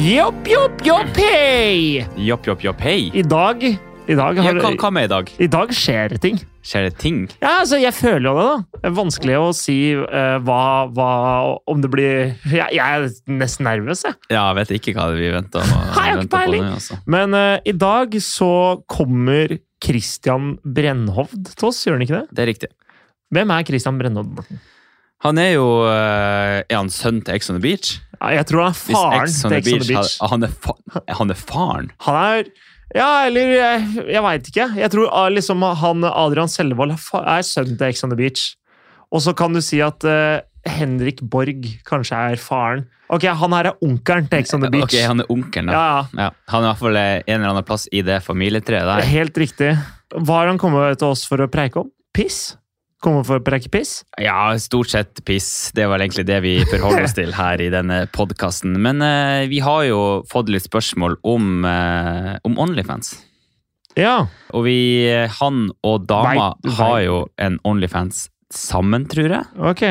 Jopp, jopp, jopp, hei! Jopp, jopp, jopp, hei. I dag i dag, Ja, har, hva, hva med i dag? I dag skjer det ting. Skjer det ting? Ja, altså, jeg føler jo det, da. Det er vanskelig å si eh, hva, hva Om det blir jeg, jeg er nesten nervøs, jeg. Ja, jeg vet ikke hva vi venter, nå. Har jeg ikke venter på peiling. nå, altså. Men eh, i dag så kommer Christian Brennhovd til oss, gjør han ikke det? Det er riktig. Hvem er Christian Brennhovd, Morten? Han er jo eh, Er han sønn til Ex on the Beach? Ja, jeg tror han er Hvis faren Ex on til the Ex on the Beach. hadde- Han, er fa han er faren? Han er Ja, eller Jeg, jeg veit ikke. Jeg tror ah, liksom han Adrian Selvold er fa- er sønnen til Ex on the Beach. Og så kan du si at eh, Henrik Borg kanskje er faren. Ok, han her er onkelen til Ex on the Beach. Ok, han er onkelen, da. ja, ja. Ja. Han er i hvert fall eh, en eller annen plass i det familietreet der. Helt riktig. Hva har han kommet til oss for å preike om? Piss? Kommer for å preike piss? Ja, stort sett piss. Det er vel egentlig det vi forholder oss til her i denne podkasten. Men eh, vi har jo fått litt spørsmål om, eh, om Onlyfans. Ja. Og vi, han og dama Nei, nei. har jo en Onlyfans sammen, tror jeg. Ok.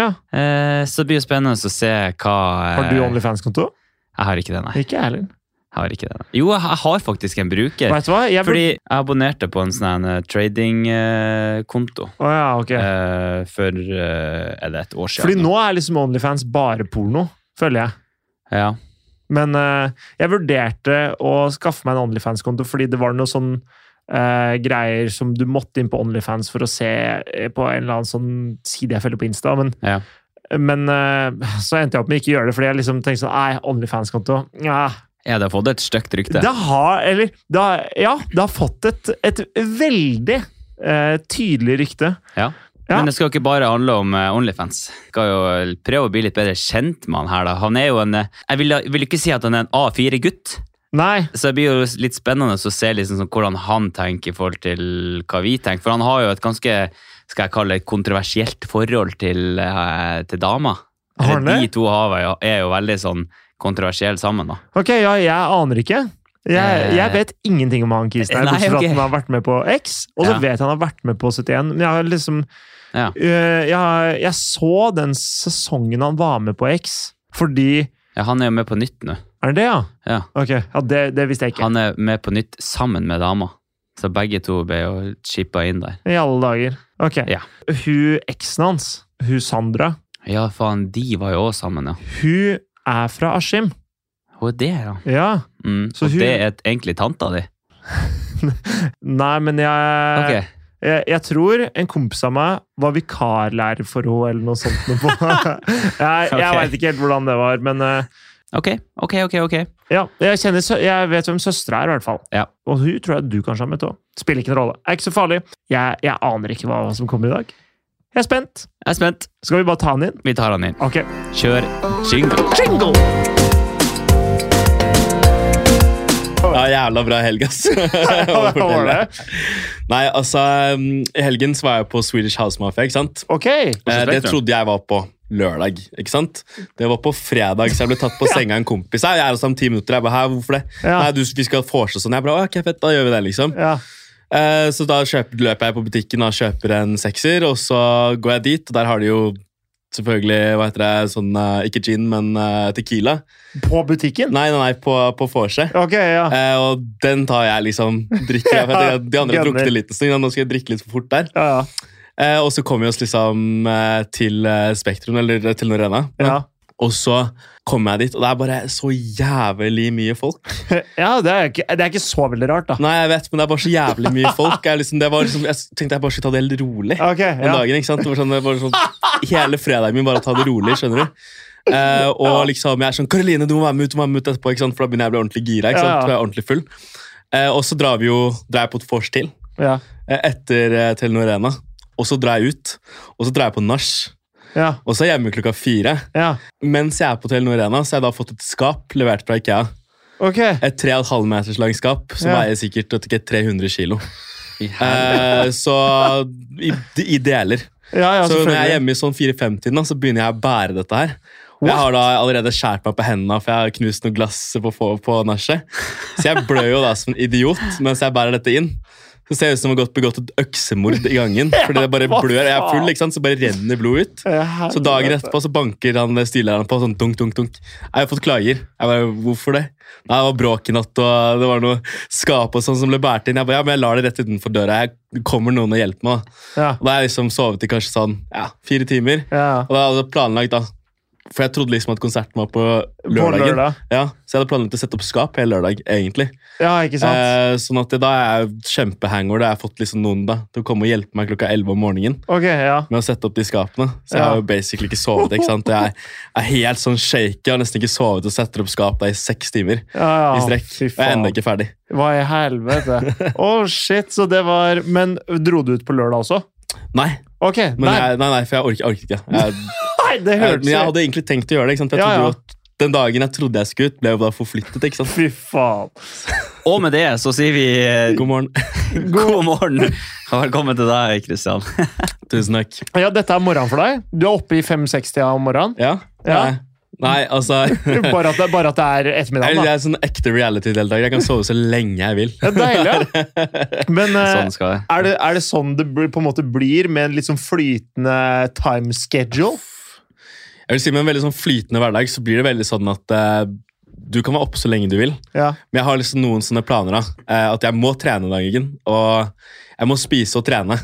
Ja. Eh, så det blir jo spennende å se hva eh, Har du OnlyFans-konto? Jeg har ikke det, nei. Ikke jeg heller. Jeg har ikke det, nei. Jo, jeg har faktisk en bruker. Veit du hva? Jeg Fordi jeg abonnerte på en sånn tradingkonto Å ja, ok. eh, for eh, er det et år siden. Fordi nå er liksom OnlyFans bare porno, føler jeg. Ja. Men eh, jeg vurderte å skaffe meg en OnlyFans-konto fordi det var noe sånn eh, greier som du måtte inn på OnlyFans for å se eh, på en eller annen sånn side jeg følger på Insta. Men, Ja. men eh, så endte jeg opp med ikke å gjøre det, fordi jeg liksom tenkte sånn Nei, OnlyFans-konto ja, Ja, det har fått et stygt rykte. Det har Eller det har, Ja, det har fått et, et veldig eh, tydelig rykte. Ja. Ja. Men det skal ikke bare handle om eh, Onlyfans. Skal jo eh, prøve å bli litt bedre kjent med han her, da. Han er jo en eh, Jeg vil, vil ikke si at han er en A4-gutt, Nei. så det blir jo litt spennende å se liksom sånn hvordan han tenker i forhold til hva vi tenker. For han har jo et ganske, skal jeg kalle det, kontroversielt forhold til, eh, til dama. Har han Eller det? De to har jo, er jo veldig sånn kontroversielle sammen, da. Ok, ja, jeg aner ikke. Jeg, Eh. jeg vet ingenting om han kisen her, Nei, bortsett fra ok. at han har vært med på X. Og så Ja. vet jeg han har vært med på 71. Men jeg har liksom Ja. øh, jeg, har- jeg så den sesongen han var med på X, fordi Ja, han er jo med på nytt nå. Er det det, ja? Ja. Ok, ja, det, det visste jeg ikke. Han er med på nytt sammen med dama. Så begge to ble jo chippa inn der. I alle dager. Ok. Ja. Hun eksen hans, hun Sandra, Ja, faen, de var jo òg sammen, ja. hun er fra Askim. Hun er det, ja. Ja. Mm. Så og hun- det er et- egentlig tanta di? Nei, men jeg Ok. Jeg, jeg tror en kompis av meg var vikarlærer for henne, eller noe sånt. Noe på. jeg jeg Ok. veit ikke helt hvordan det var, men eh, ok, ok, ok. ok. ja, jeg, kjenner, sø- jeg vet hvem søstera er, i hvert fall. Ja. Og hun tror jeg du kanskje har møtt òg. Spiller ikke en rolle. Er ikke så farlig. Jeg, jeg aner ikke hva som kommer i dag. Jeg er spent. Jeg er spent. Skal vi bare ta den inn? Vi tar han inn. Ok. Kjør jingle. Jingle! Ja, jævla bra helg, ass. Å Hva var fortelle. det? Nei, altså, um, I helgen så var jeg på Swedish House Mafia. ikke sant? Ok. Eh, Hvordan Det vet du? trodde jeg var på lørdag. ikke sant? Det var på fredag, så jeg ble tatt på senga av en kompis. Nei, Jeg er hos ham ti minutter. Jeg bare, Hæ, hvorfor det? Ja. Nei, du, vi skal vorse sånn. Jeg bare, ok, fett, da gjør vi det, liksom. Ja. Eh, så da kjøper, løper jeg på butikken og kjøper en sekser, og så går jeg dit, og der har de jo selvfølgelig, hva heter det, sånn, eh, ikke gin, men eh, tequila. På butikken? Nei, nei, nei, på, på vorset. Ok, ja. Eh, og den tar jeg liksom drikker. jeg, for jeg, de andre har drukket litt en stund. ja, Nå skal jeg drikke litt for fort der. Ja, ja. Eh, og så kommer vi oss liksom eh, til eh, Spektrum, eller til Norena. Ja. Og så kommer jeg dit, og det er bare så jævlig mye folk. ja det, er ikke, det er ikke så veldig rart, da. Nei, jeg vet, men det er bare så jævlig mye folk. Jeg, liksom, det var liksom, jeg tenkte jeg bare skulle ta det helt rolig Ok, om ja. dagen. ikke sant? Det var sånn, det var sånn, hele fredagen min bare ta det rolig, skjønner du. Eh, og liksom, jeg er sånn 'Karoline, du må være med ut du må være med ut etterpå', ikke sant? for da begynner jeg å bli ordentlig gira. ikke Ja, ja. sant? For jeg er ordentlig full. Eh, og så drar vi jo, drar jeg på et vors til. Ja. eh, etter eh, Telenor Arena. Og så drar jeg ut, og så drar jeg på nach. Ja. Og så er jeg hjemme klokka fire. ja. Mens jeg er på Telenor Arena, så har jeg da fått et skap levert fra Ikea. Ok. Et 3,5 meters langt skap som Ja. veier sikkert vet ikke, 300 kilo. I hel- Eh, så i, i deler. Ja, ja, så når jeg selvfølgelig. er hjemme i sånn 4-5-tiden, da, så begynner jeg å bære dette her. Jeg har da allerede skåret meg på hendene, for jeg har knust noen glass på, få- på nachet. Så jeg blør jo da som en idiot mens jeg bærer dette inn. Så ser det ut som om jeg har gått- begått et øksemord i gangen. Fordi det bare hva blør. Jeg er full, faen? ikke sant? så bare renner blod ut. What? Så dagen etterpå så banker han eh, styrlæreren på sånn dunk, dunk, dunk. Jeg har fått klager. Jeg bare, Hvorfor det? Nei, Det var bråk i natt, og det var noe skap og sånn som ble båret inn. Jeg bare, ja, men jeg lar det rett utenfor døra. Jeg kommer noen og hjelper meg. da. Ja. Og da har jeg liksom sovet i kanskje sånn ja, fire timer. Ja. Og da hadde jeg planlagt, da. For jeg trodde liksom at konserten var på lørdagen. På lørdag. Ja, så jeg hadde planlagt å sette opp skap hele lørdag, egentlig. Ja, ikke sant? Eh, sånn at det, da er jeg kjempehangover. Da har jeg fått liksom noen da, til å komme og hjelpe meg klokka 11 om morgenen Ok, ja. med å sette opp de skapene. Så jeg Ja. har jo basically ikke sovet. ikke sant? Jeg er helt sånn shaky. Jeg har nesten ikke sovet og setter opp skap da i seks timer ja, ja. i Ah, Fy strekk. Og jeg er faen. ennå ikke ferdig. Hva i helvete? Oh shit, så det var Men dro du ut på lørdag også? Nei, Ok, men nei, jeg, nei, nei, for jeg orket, orket ikke. Jeg, nei, det jeg, hørtes men jeg jo hadde egentlig tenkt å gjøre det. ikke sant? Jeg Ja, ja. trodde jo at Den dagen jeg trodde jeg skulle ut, ble jo da forflyttet. ikke sant? Fy faen. Og med det så sier vi eh, God morgen. god morgen og velkommen til deg, Kristian. Tusen takk. Ja, dette er morgenen for deg. Du er oppe i 5.60 om morgenen. Ja? Ja. Nei, nei altså jeg, Bare at det, bare at det er ettermiddagen, jeg da. er sånn ekte reality-deltaker. Jeg kan sove så lenge jeg vil. Det er deilig. ja. Men eh, Sånn skal det. er, det, er det sånn det bl- på en måte blir, med en litt sånn flytende time schedule? Jeg vil si Med en veldig sånn flytende hverdag så blir det veldig sånn at eh, du kan være oppe så lenge du vil. Ja. Men jeg har liksom noen sånne planer. da, eh, At jeg må trene dagen. Og jeg må spise og trene.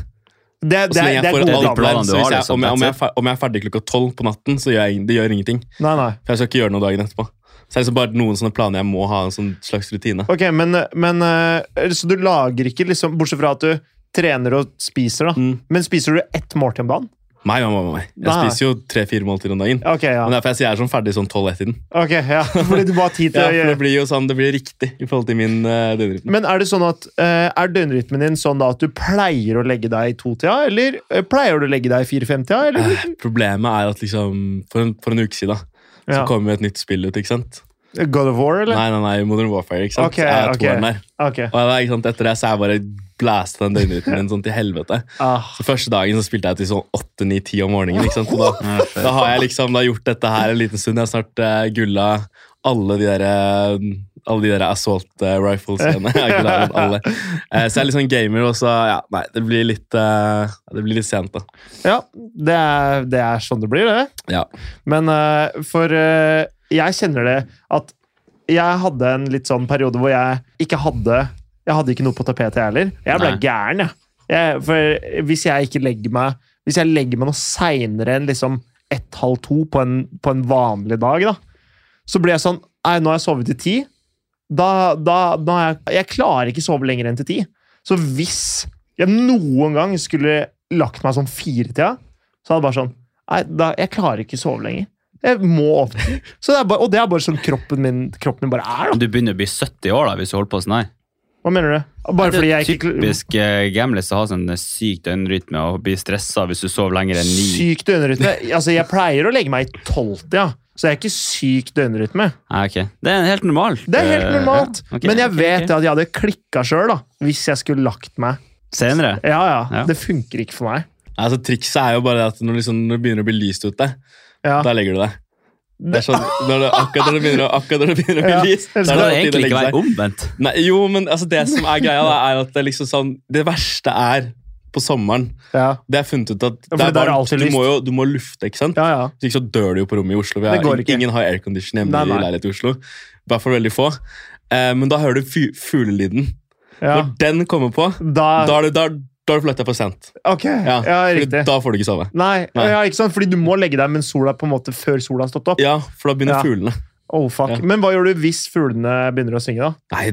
Det, Og det, så er- det lenge jeg er får et gode valgplan, planer. planer du så hvis har, jeg, liksom, om, jeg, om, jeg, that's er fer- om jeg er ferdig klokka tolv på natten, så gjør jeg, det gjør ingenting. Nei, nei. For jeg skal ikke gjøre noe dagen etterpå. Så det er liksom bare noen sånne planer jeg må ha en sånn slags rutine. Ok, men, men eh, Så du lager ikke, liksom, bortsett fra at du trener og spiser, da. Mm. Men spiser du ett måltid om dagen? Nei, nei, nei, nei. Jeg Nei. spiser jo tre-fire måltider om dagen. Ok, ja. Men derfor jeg sier jeg er sånn ferdig sånn tolv-ett-tiden. Ok, ja. Fordi du må ha tid til å Ja, for det gjøre blir jo sånn, det blir riktig i forhold til min uh, døgnrytme. Men er det sånn at eh, er døgnrytmen din sånn da at du pleier å legge deg i totida, eller eh, pleier du å legge deg i fire-femtida, eller? Eh, Problemet er at liksom, for en, for en uke siden da, så Ja. kom jo et nytt spill ut, ikke sant? Eh, God of War, eller? Nei, nei, nei, Modern Warfare, ikke sant? Ok, jeg er ok. toeren der. Ok. Og da, ikke sant, etter det så har jeg bare blæsta den døgnrytmen min sånn til helvete. Ah. Så Første dagen så spilte jeg til sånn 8-9-10 om morgenen. ikke sant? Og da, da har jeg liksom da gjort dette her en liten stund. Jeg har snart eh, gulla alle de der, eh, alle de der assault eh, rifles igjen. Jeg har gulla rundt alle. Eh, så jeg er litt sånn gamer, og så ja, nei, det blir litt, eh, det blir litt sent, da. Ja, det er, det er sånn det blir, det. Ja. Men eh, for eh, jeg kjenner det at jeg hadde en litt sånn periode hvor jeg ikke hadde Jeg hadde ikke noe på tapetet, jeg heller. Jeg ble Nei. gæren, jeg. jeg. For hvis jeg ikke legger meg Hvis jeg legger meg noe seinere enn liksom ett-halv to på en, på en vanlig dag, da, så blir jeg sånn Nei, nå har jeg sovet til ti. Da, da, da er jeg, jeg klarer ikke sove lenger enn til ti. Så hvis jeg noen gang skulle lagt meg sånn fire-tida, så hadde jeg bare sånn Nei, da, jeg klarer ikke sove lenger. Jeg må opp. Så det er bare, og det er bare sånn kroppen min, kroppen min bare er, da. Du begynner å bli 70 år da, hvis du holder på sånn her. Hva mener du? Bare fordi det jeg er ikke typisk uh, gamlis å ha sånn syk døgnrytme og bli stressa hvis du sover lenger enn ni. Syk døgnrytme. Altså, jeg pleier å legge meg i tolvtida, så jeg er ikke syk døgnrytme. Nei, Ah, ok. Det er helt normalt. Det er helt Eh, normalt. ja, ok, Men jeg ok, vet ok. at jeg hadde klikka sjøl hvis jeg skulle lagt meg. Senere. Ja, ja, Ja. Det funker ikke for meg. Altså, trikset er jo bare det at når, liksom, når det begynner å bli lyst ute, Ja. da legger du deg. Det er sånn, når det, akkurat, når det begynner, å- akkurat når det begynner å bli Ja. lyst, da Så Det er det skal på tide å egentlig legge ikke seg. være omvendt. Nei, jo, men altså, det som er greia, da, er at det, er liksom sånn, det verste er på sommeren Ja, Det er funnet ut at Ja, for det er det der er varmt. alltid Du lyst. må jo du må lufte, ikke sant? ja. ja. Hvis ikke så dør du jo på rommet i Oslo. Vi Det går har, ikke. ingen har aircondition hjemme Nei, nei. i leilighet i Oslo. I hvert fall veldig få. Eh, men da hører du fy- fuglelyden. ja. Når den kommer på, Da, da har du, da, da har du flytta for sent. Ok, ja, Ja, fordi riktig. Da får du ikke sove. Nei, Nei. Ja, ikke sant? Fordi du må legge deg mens sola på en måte før sola har stått opp. Ja, for da Ja. begynner fuglene. Oh, fuck. Ja. Men hva gjør du hvis fuglene begynner å synge, da? Nei,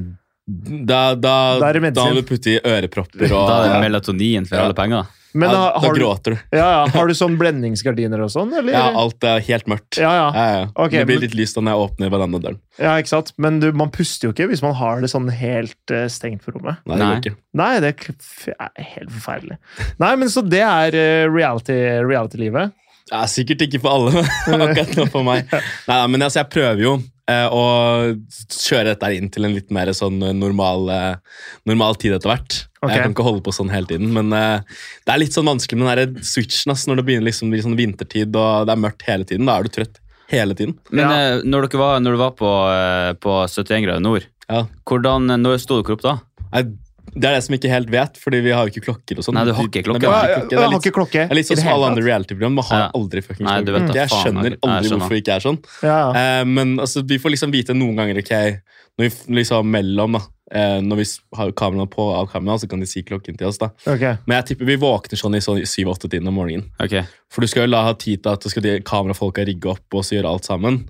da, da, Da er det da, medisin. må du putte i ørepropper og Da er Ah, det ja, melatonin for Ja. alle penger. Men da, har, har, du, gråter du. ja, ja, har du sånn blendingsgardiner og sånn, eller? Ja, alt er helt mørkt. ja, ja. Ja, ja. Ok, det men- blir litt lyst da når jeg åpner verandadøren. ja, ikke sant? Men du, man puster jo ikke hvis man har det sånn helt eh, stengt på rommet. Nei, det Nei. går ikke. Nei, det er k- er helt forferdelig. Nei, men så det er eh, reality- reality-livet. Ja, sikkert ikke for alle, men akkurat nå for meg. Nei, nei, men altså, jeg prøver jo eh, å kjøre dette her inn til en litt mer sånn eh, normal, eh, normal tid etter hvert. Ok. Jeg kan ikke holde på sånn hele tiden, men eh, det er litt sånn vanskelig med den der switchen ass, når det begynner liksom å bli sånn vintertid og det er mørkt hele tiden. Da er du trøtt Hele tiden. Men Ja. eh, når, dere var, når du var på, eh, på 71 grader nord, Ja. hvordan, eh, når sto dere opp da? Nei, det er det som ikke helt vet, fordi vi har jo ikke klokker og sånn. Nei, du har ikke klokke. Nei, vi har ikke klokke. Det Jeg er har litt, ikke klokke. det er litt i sånn det som hele alle andre tatt. reality-program. Man har Ja. aldri fuckings Nei, du klokke. vet da Jeg faen, skjønner jeg- jeg aldri skjønner. hvorfor vi ikke er sånn. Ja, ja. Eh, men altså, vi får liksom vite noen ganger ok, når vi f- liksom mellom da, eh, når vi s- har kameraene på og av kameraene, så kan de si klokken til oss. da. Ok. Men jeg tipper vi våkner sånn i sånn 7-8-tiden om morgenen. Ok, For du skal jo la ha tid til at du skal de kamerafolka rigge opp og så gjøre alt sammen.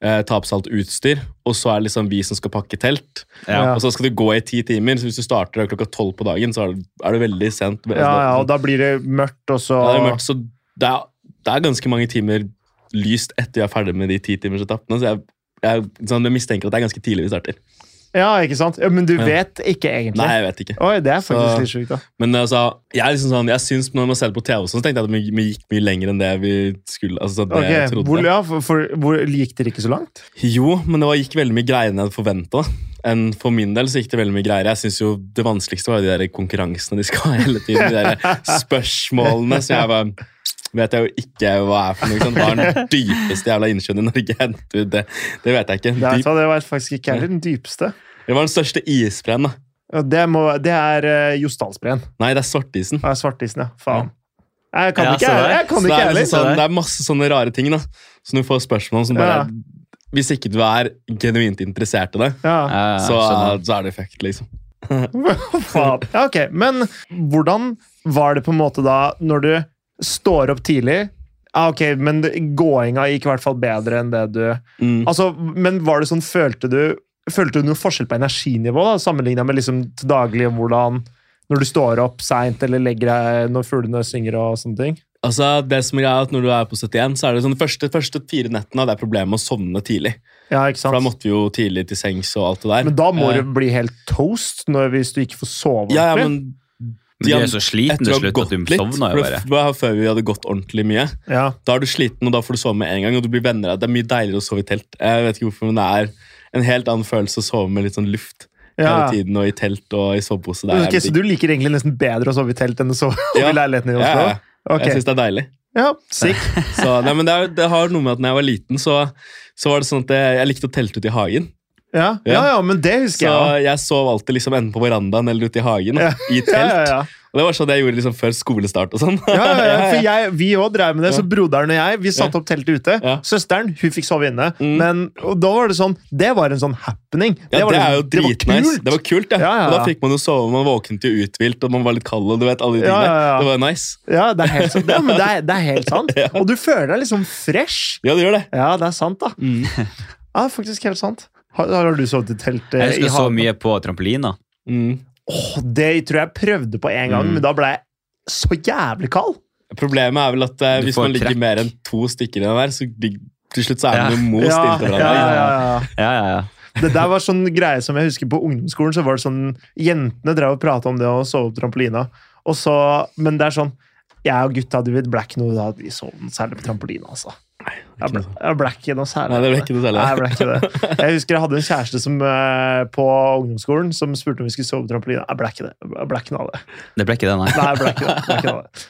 Eh, ta på seg alt utstyr, og så er det liksom vi som skal pakke telt. Ja. ja. Og så skal du gå i ti timer, så hvis du starter klokka tolv på dagen, så er det, er det veldig sent. ja, ja, og da blir det mørkt, og så Ja, det er mørkt, så det er, det er ganske mange timer lyst etter vi er ferdig med de titimersetappene. Så jeg, jeg, sånn, jeg mistenker at det er ganske tidlig vi starter. Ja, ikke sant? Ja, men du Ja. vet ikke egentlig. Nei, jeg vet ikke. Oi, det er faktisk Så- litt sjukt, da. Men altså, jeg er liksom sånn, jeg syns når man ser det på TV, og sånn, så tenkte jeg at vi, vi gikk mye lenger enn det vi skulle. Altså, det Ok, jeg trodde. hvor, ja, for, for, hvor Gikk dere ikke så langt? Jo, men det var, gikk veldig mye greier enn jeg hadde forventa. Enn for min del så gikk det veldig mye greier. Jeg synes jo Det vanskeligste var jo de der konkurransene de skal ha hele tiden. De der spørsmålene som jeg bare Vet jeg jo ikke hva er for noe. ikke sant? Hva er den dypeste jævla innsjøen i Norge? Du, Det, det vet jeg ikke. Det, er, Dyp, så det var faktisk ikke heller den dypeste. det var den største isbreen, da. Ja, Det, må, det er uh, Jostedalsbreen. Nei, det er svartisen. Ja, Svartisen, ja. Faen. Jeg kan Ja, ikke så der. jeg kan Så det, ikke er heller. liksom sånn, det er masse sånne rare ting da, som du får spørsmål om som bare Ja. Hvis ikke du er genuint interessert i det, Ja, Ja, jeg så, skjønner. så er det fucked, liksom. faen. Ja, ok. Men hvordan var det på en måte da, når du står opp tidlig ja, ok, men gåinga gikk i hvert fall bedre enn det du Mm. Altså, men var det sånn, følte du Følte du noe forskjell på energinivå da, sammenlignet med liksom til daglig hvordan når du står opp seint eller legger deg når fuglene synger og sånne ting? Altså, det som er greia er at Når du er på 71, så er det sånn de første, første fire nettene hadde jeg problemer med å sovne tidlig. Ja, ikke For da sant? måtte vi jo tidlig til sengs og alt det der. Men da må Eh, du bli helt toast når, hvis du ikke får sove ja, ja, ordentlig. men Men du er så sliten etter til å ha slutt at gått du litt sovner jo for bare. det var Før vi hadde gått ordentlig mye. Ja, Da er du sliten, og da får du sove med en gang. Og du blir venner av Det er mye deiligere å sove i telt. Jeg vet ikke hvorfor, men det er en helt annen følelse å sove med litt sånn luft hele ja. tiden, og i telt og i sovepose. Det er Ok, jævlig så digg. du liker egentlig nesten bedre å sove i telt enn å sove Ja. i leiligheten i Ja, Oslo? ja, ja. Ok. Jeg syns det er deilig. Ja, sick. Så, nei, men det, er, det har noe med at når jeg var liten, så, så var det sånn at jeg, jeg likte å telte ute i hagen. Ja, ja, ja, men det husker Så jeg også. jeg sov alltid liksom enten på verandaen eller ute i hagen. da, I telt. Ja, ja, ja. Og det var sånn jeg gjorde liksom før skolestart og sånn. Ja, ja, ja, Ja, for ja. jeg, vi òg drev med det, så broderen og jeg vi satte opp teltet ute. Ja. Søsteren hun fikk sove inne. Mm. Men, og da var det sånn Det var en sånn happening. Ja, var det er jo liksom- det var dritnice. kult. Det var kult, ja. Ja, ja, Og da ja. fikk man jo sove, man våknet jo uthvilt, og man var litt kald, og du vet alle de Ja, tingene. ja, ja. Det var nice. Ja, det er helt sant. Ja, men det er, det er helt sant. Og du føler deg liksom fresh. Ja, det gjør det. Ja, det er sant, da. Mm. Ja, faktisk helt sant. Har, har du sovet i telt eh, Jeg i husker så mye på trampolina. Mm. Åh, det tror jeg jeg prøvde på en gang, Mm. men da ble jeg så jævlig kald. Problemet er vel at eh, Du hvis får man ligger trekk. mer enn to stykker i den der, så ligger- til slutt så er man jo most Ja, inntil ja, hverandre. ja, ja. Ja, ja, ja. Det der var sånn greie som jeg husker på ungdomsskolen. så var det sånn, Jentene drev og prata om det å sove på trampolina. Og så, men det er sånn Jeg og gutta du vet, ble ikke noe da vi sov noe særlig på trampolina. altså. Jeg ble, jeg ble ikke noe særlig. Nei, det ble ikke noe særlig. Nei, jeg ble ikke det. Jeg husker jeg hadde en kjæreste som, eh, på ungdomsskolen som spurte om vi skulle sove på trampolina. Jeg ble ikke det. Jeg ble ikke noe av det. Det ble ikke det, nei. Nei, jeg ble ikke det. Jeg ble ikke noe av det.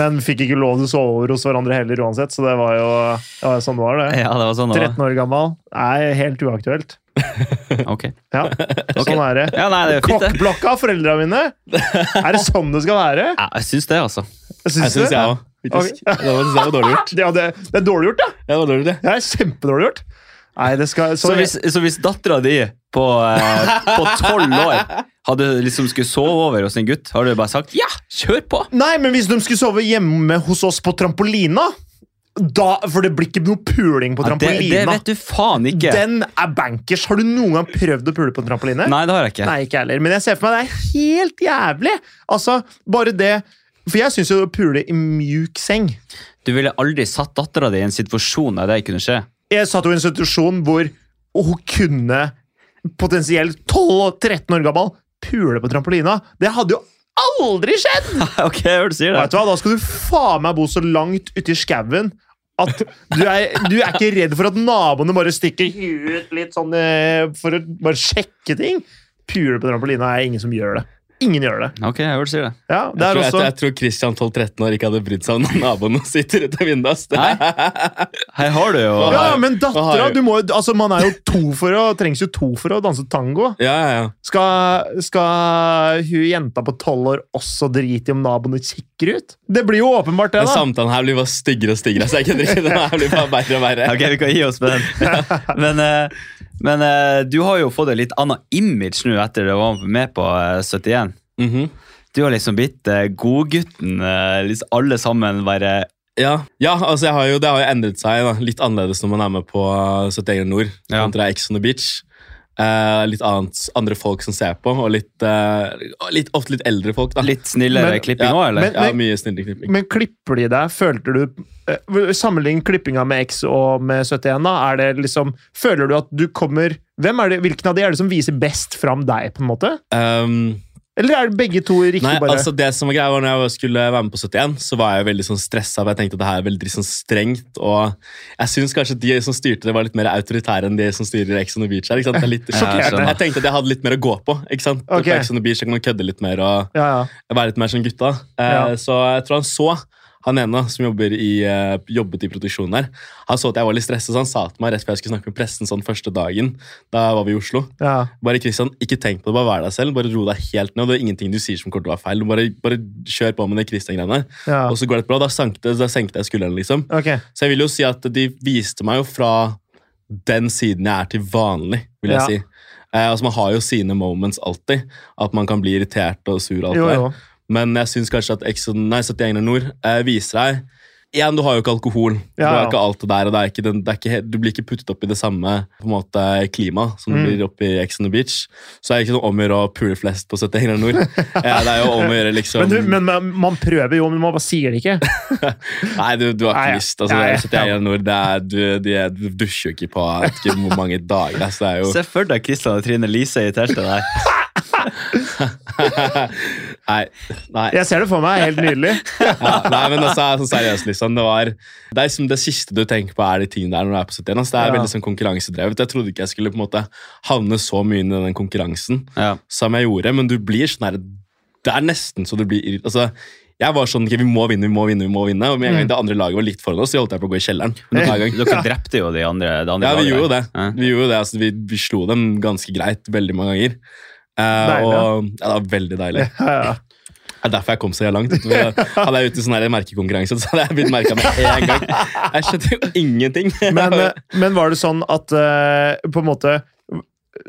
Men vi fikk ikke lov til å sove over hos hverandre heller uansett, så det var jo ja, sånn det var. det. Ja, det var sånn det 13 år gammel. Nei, helt uaktuelt. var. Ok. Ja, Ok. sånn er det. Ja, nei, det er fint, det. Kokkblokka av foreldra mine! Er det sånn det skal være? Ja, jeg syns det, altså. Jeg Syns du? syns jeg òg. faktisk. Det var, det var dårlig gjort. Ja, det, det er dårlig gjort, ja! Ja, det var dårlig, det. Det er kjempedårlig gjort. Nei, det skal Så hvis, så hvis dattera di på eh, tolv år hadde liksom skulle sove over hos en gutt, har du bare sagt ja, kjør på! Nei, men hvis de skulle sove hjemme hos oss på trampolina da, For det blir ikke noe puling på Ja, det, det trampolina. vet du faen ikke. Den er bankers. Har du noen gang prøvd å pule på en trampoline? Nei, det har jeg ikke. Nei, ikke jeg heller. Men jeg ser for meg det er helt jævlig. Altså, bare det For jeg syns jo å pule i mjuk seng Du ville aldri satt dattera di i en situasjon der det kunne skje. Jeg satt jo i en institusjon hvor hun kunne potensielt 12-13 år gammel pule på trampolina. Det hadde jo aldri skjedd! ok, jeg hører du sier Vet du hva, Da skal du faen meg bo så langt ute i skauen at du er, du er ikke redd for at naboene bare stikker huet ut litt sånn eh, for å bare sjekke ting. Pule på trampolina er ingen som gjør det. Ingen gjør det. Ok, jeg hører du sier det. Ja, det Jeg er tror, jeg, også, jeg tror Christian 12-13 år ikke hadde brydd seg om når naboen sitter ute av vinduet. ass. Nei. Her har du jo Hva ja, har- men hva dattera har- du må, jo- altså, Man er jo to for å, trengs jo to for å danse tango. Ja, ja, ja. Skal, skal hun jenta på tolv år også drite i om naboene kikker ut? Det blir jo åpenbart, det, Den da. samtalen her blir bare styggere og styggere. Så jeg kødder ikke. Den her blir bare verre og verre. Ok, vi kan gi oss med den. Men, eh, men eh, du har jo fått et litt annet image nå etter du var med på eh, 71. Mhm. Du har liksom blitt eh, godgutten. eh, liksom alle sammen bare ja. ja, altså jeg har jo, det har jo endret seg da. litt annerledes når man er med på 71 Nord Ja. kontra Ex on the Beach. Eh, litt annet, andre folk som ser på, og litt, eh, litt, ofte litt eldre folk. da. litt snillere Men- klipping Ja, òg, eller? men- ja, mye snillere klipping. Men klipper de deg? Følte du eh, Sammenlign klippinga med X og med 71, da. Er det liksom Føler du at du kommer hvem er det, Hvilken av de er det som viser best fram deg, på en måte? Um, Eller er det begge to riktig, Nei, bare? altså det som var greia var når jeg skulle være med på 71, så var jeg veldig sånn stressa. for Jeg tenkte at det her er veldig sånn strengt. Og jeg syns kanskje de som styrte det, var litt mer autoritære enn de som styrer Ex on the Beach. her, ikke sant? Det er litt, Sjokkerende. Jeg skjønner. Jeg tenkte at jeg hadde litt mer å gå på. ikke sant? Ok. På Ex on the Beach så kan man kødde litt mer og ja, ja. være litt mer som gutta. Eh, Ja. Så jeg tror han så han ene som jobber i, eh, jobbet i produksjonen her, han så at jeg var litt stresset, så han sa til meg rett før jeg skulle snakke med pressen sånn første dagen. Da var vi i Oslo. ja. Bare Kristian, ikke tenk på det, bare vær deg selv. Bare ro deg helt ned. og Det er ingenting du sier som kommer til å være feil. Du Bare, bare kjør på med det Kristian-greiene. ja. Og så går det bra. Da senkte, da senkte jeg skuldrene, liksom. Ok. Så jeg vil jo si at de viste meg jo fra den siden jeg er til vanlig, vil jeg Ja. si. Eh, altså Man har jo sine moments alltid. At man kan bli irritert og sur. og alt Jo, det der. jo. Men jeg syns kanskje at Exo- nei, 71 Nord eh, viser deg Igjen, du har jo ikke alkohol. Du Ja, har ja. ikke alt det der, og det er ikke den, det er ikke, helt- du blir ikke puttet opp i det samme på en måte, klima som du Mm. blir opp i Ex on the Beach. Så det er ikke noe om å gjøre å pule flest på 71 Nord. Eh, det er jo om å gjøre liksom Men, du, men man, man prøver jo, men man bare sier det ikke. Nei, du, du har Nei, ikke ja. lyst. Altså, Ja, ja. 71 Nord, det er, du, de, er- du dusjer jo ikke på jeg vet ikke hvor mange dager. Altså, det er jo Se for deg Kristian og Trine Lise i teltet der. Nei. nei. Jeg ser det for meg, helt nydelig. ja, nei, men altså, sånn seriøst, liksom. Det, var, det er liksom det siste du tenker på, er de tingene der når du er på 71. Altså, det er Ja. veldig sånn konkurransedrevet. Jeg trodde ikke jeg skulle på en måte havne så mye inn i den konkurransen Ja. som jeg gjorde, men du blir sånn her Det er nesten så du blir irrit- altså, jeg var sånn, ok, Vi må vinne, vi må vinne. vi må vinne Og med en gang det andre laget var litt foran oss, så holdt jeg på å gå i kjelleren. Hver gang. Dere drepte jo de andre. De andre Ja, vi laget. gjorde jo det. Ja. Vi, gjorde jo det altså, vi, vi slo dem ganske greit veldig mange ganger. Eh, Deilig, og, ja, det var veldig deilig. Ja, ja. Det er derfor jeg kom så jævla langt. For Hadde jeg vært ute i sånn her merkekonkurranse, så hadde jeg blitt merka med en gang. Jeg skjønte jo ingenting. Men, eh, men var det sånn at eh, på en måte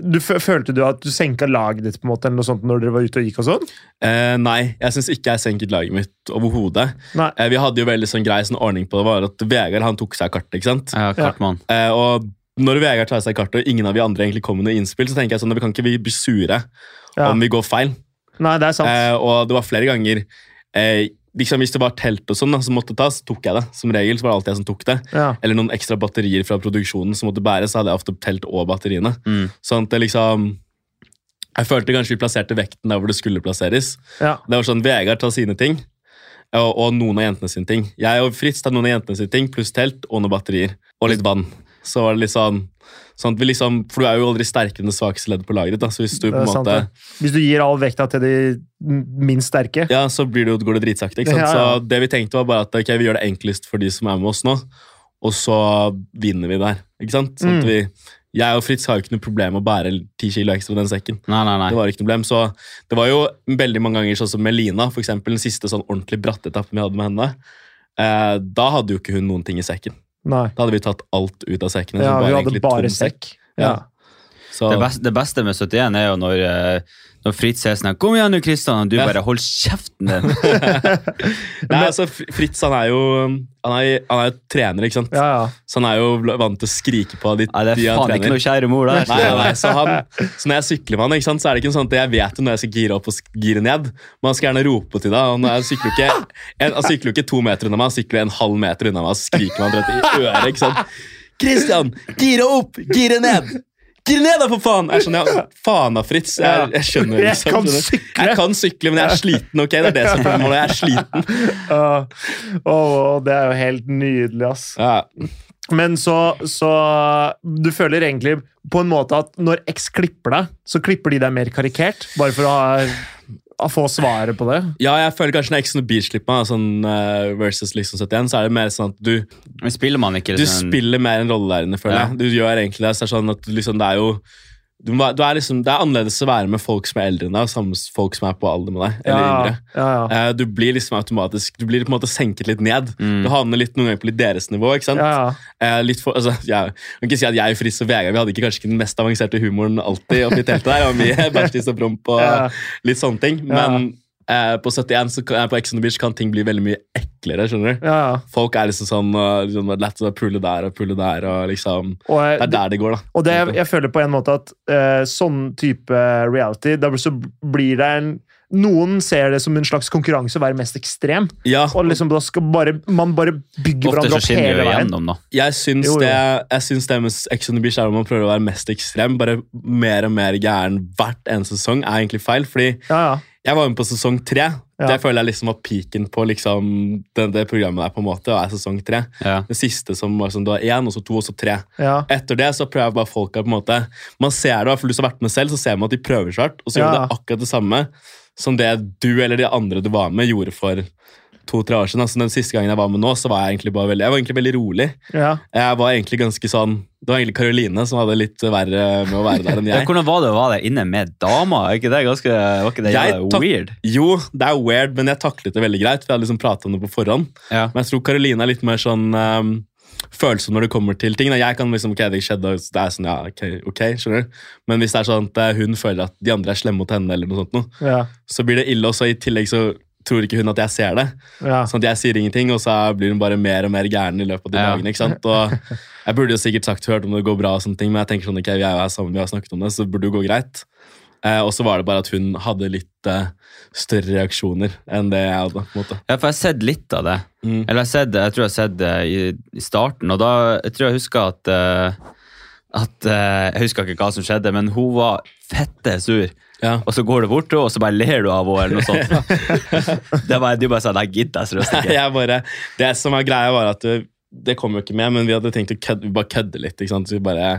du fø- Følte du at du senka laget ditt på en måte, eller noe sånt når dere var ute og gikk? og sånn? Eh, nei, jeg syns ikke jeg senket laget mitt overhodet. Nei. Eh, vi hadde jo veldig sånn grei sånn ordning på det, var at Vegard han tok seg kartet. ikke sant? Ja, Kartmann. Eh, og når Vegard tar seg kartet, og ingen av vi andre egentlig kommer med noe innspill, så tenker jeg sånn at vi kan ikke vi bli sure Ja. om vi går feil. Nei, det er sant. Eh, og det var flere ganger eh, liksom Hvis det var telt og sånn da, som måtte tas, tok jeg det. Som regel så var det alltid jeg som tok det. ja. eller noen ekstra batterier fra produksjonen som måtte bæres, så hadde jeg ofte telt og batteriene. Mm. Sånn at det liksom Jeg følte kanskje vi plasserte vekten der hvor det skulle plasseres. Ja. Det var sånn Vegard tar sine ting, og, og noen av jentene sine ting. Jeg og Fritz tar noen av jentene sine ting, pluss telt og noen batterier. Og litt vann. Så var det litt sånn, sånn at vi liksom, For du er jo aldri sterkere enn det svakeste leddet på lageret. ditt, da, Så hvis du Det på er en sant, måte, det. Hvis du gir all vekta til de minst sterke. ja, så blir det jo, går det dritsakte. ikke sant? Ja, ja. Så det vi tenkte var bare at ok, vi gjør det enklest for de som er med oss nå, og så vinner vi der. ikke sant? Sånn at Mm. vi, jeg og Fritz har jo ikke noe problem med å bære ti kilo ekstra i den sekken. Nei, nei, Det nei. var ikke noe problem, så det var jo veldig mange ganger sånn som med Lina, for eksempel, den siste sånn ordentlig brattetappen vi hadde med henne. Eh, da hadde jo ikke hun noen ting i sekken. Nei. Da hadde vi tatt alt ut av sekken. Ja, så vi hadde egentlig tom bare sekk. Ja. Så, Det beste, det beste med 71 er jo når, eh, når Fritz sier sånn her, 'Kom igjen nå, Kristian!' Og du Ja. bare 'Hold kjeften din!' nei, altså, Fr- Fritz han er jo han er, han er jo trener, ikke sant? Ja, ja. Så han er jo vant til å skrike på de, Nei, det de er han faen ikke trener. noe kjære mor der. Nei, nei, nei. Så, han, så når jeg sykler med han, ikke sant, så er det ikke sånn at jeg vet jo når jeg skal gire opp og sk- gire ned. Men han skal gjerne rope til deg. og når jeg sykler jo ikke, en, han sykler jo ikke to meter unna meg, han sykler en halv meter unna meg og skriker meg rett i øret. ikke sant? Christian, gire opp! Gire ned! Gire ned, da, for faen! Jeg skjønner, ja, Faen da, Fritz. Jeg, jeg skjønner jo, Jeg liksom. kan skjønner. sykle. Jeg kan sykle, men jeg er sliten. ok? Det er det som er problemet. Jeg er sliten. Åh, åh, det er jo helt nydelig, ass. Ja, Men så, så Du føler egentlig på en måte at når X klipper deg, så klipper de deg mer karikert. Bare for å ha å få svaret på det. Ja, jeg føler kanskje når Ex on the Beach slipper meg, sånn, eh, versus liksom 71, så er det mer sånn at du, Men spiller man ikke du sånn- spiller mer en rollelærende, føler Ja. jeg. Du gjør egentlig det. Så er det sånn at du liksom, det er jo du, må- du er liksom, Det er annerledes å være med folk som er eldre enn deg, og samme s- folk som er på alder med deg. Eller Ja, yngre. ja, ja. Eh, Du blir liksom automatisk Du blir på en måte senket litt ned. Mm. Du havner litt noen ganger på litt deres nivå. ikke sant? Ja, ja. Eh, litt for, altså, jeg jeg kan ikke si at jeg, Fritz og Vegard Vi hadde ikke kanskje ikke den mest avanserte humoren alltid. oppi teltet der, Det var mye bæsjtiss og promp og Ja. litt sånne ting. Men eh, på 71 så, kan- eh, på Ex on the Beach kan ting bli veldig mye eklere. skjønner du? ja, ja. Folk er liksom sånn eh, liksom, det er lett å pulle der og pulle der. og liksom, Og, Det er jeg- der det går, da. og det, jeg føler på en måte at eh, sånn type reality, da så blir det en Noen ser det som en slags konkurranse å være mest ekstrem. Ja, Og liksom da skal bare, man bare bygger Ofte hverandre så opp skinner hele vi jo veien. igjennom, da. jeg syns, Jo, jo. Det, jeg syns det med Ex on the Beach er om man prøver å være mest ekstrem. Bare mer og mer gæren hvert eneste sesong er egentlig feil. fordi Ja, ja. Jeg var med på sesong tre. Ja. Det føler jeg liksom var peaken på liksom, det, det programmet der, på en måte, og er sesong tre. Ja. Det siste som var sånn, det var én, og så to, og så tre. ja. Etter det så prøver bare folk å på en måte Man ser det, for du som har vært med selv, så ser man at de prøver svært, og så Ja. gjør de det akkurat det samme som det du eller de andre du var med, gjorde for to-tre år siden. Altså, den siste gangen jeg var med nå, så var jeg egentlig bare veldig, jeg var egentlig veldig rolig. ja. Jeg var egentlig ganske sånn Det var egentlig Karoline som hadde litt verre med å være der enn Ja, jeg. hvordan var det å være der inne med dama? Er ikke det ganske var ikke det Jeg jævla tak- weird? Jo, det er weird, men jeg taklet det veldig greit. For jeg hadde liksom pratet om det på forhånd. Ja. Men jeg tror Karoline er litt mer sånn ehm, følsom når det kommer til ting. da. Jeg kan liksom, ok, det skjedde, og det er sånn, ja, ok, ok, skjønner du? Men hvis det er sånn at eh, hun føler at de andre er slemme mot henne, eller noe sånt, noe, ja. så blir det ille. Og så i tillegg så tror ikke hun at jeg ser det. ja. Sånn at jeg sier ingenting, og så blir hun bare mer og mer gæren i løpet av de Ja. dagene. ikke sant? Og jeg burde jo sikkert sagt hørt om det går bra, og sånne ting, men jeg tenker sånn, ok, vi er jo her sammen, vi har snakket om det, så det burde jo gå greit. Eh, og så var det bare at hun hadde litt eh, større reaksjoner enn det jeg hadde. på en måte. Ja, for jeg har sett litt av det. Mm. Eller jeg, har sett, jeg tror jeg har sett det i, i starten, og da jeg tror jeg husker at, eh, at eh, Jeg husker ikke hva som skjedde, men hun var fette sur. Ja. Og så går du bort til henne, og så bare ler du av henne, eller noe sånt. det er bare, du bare sa 'nei, gidder jeg seriøst ikke'. Jeg bare, det som var greia, var at det, det kom jo ikke med, men vi hadde tenkt å kødde, vi bare kødde litt. ikke sant? Så vi bare,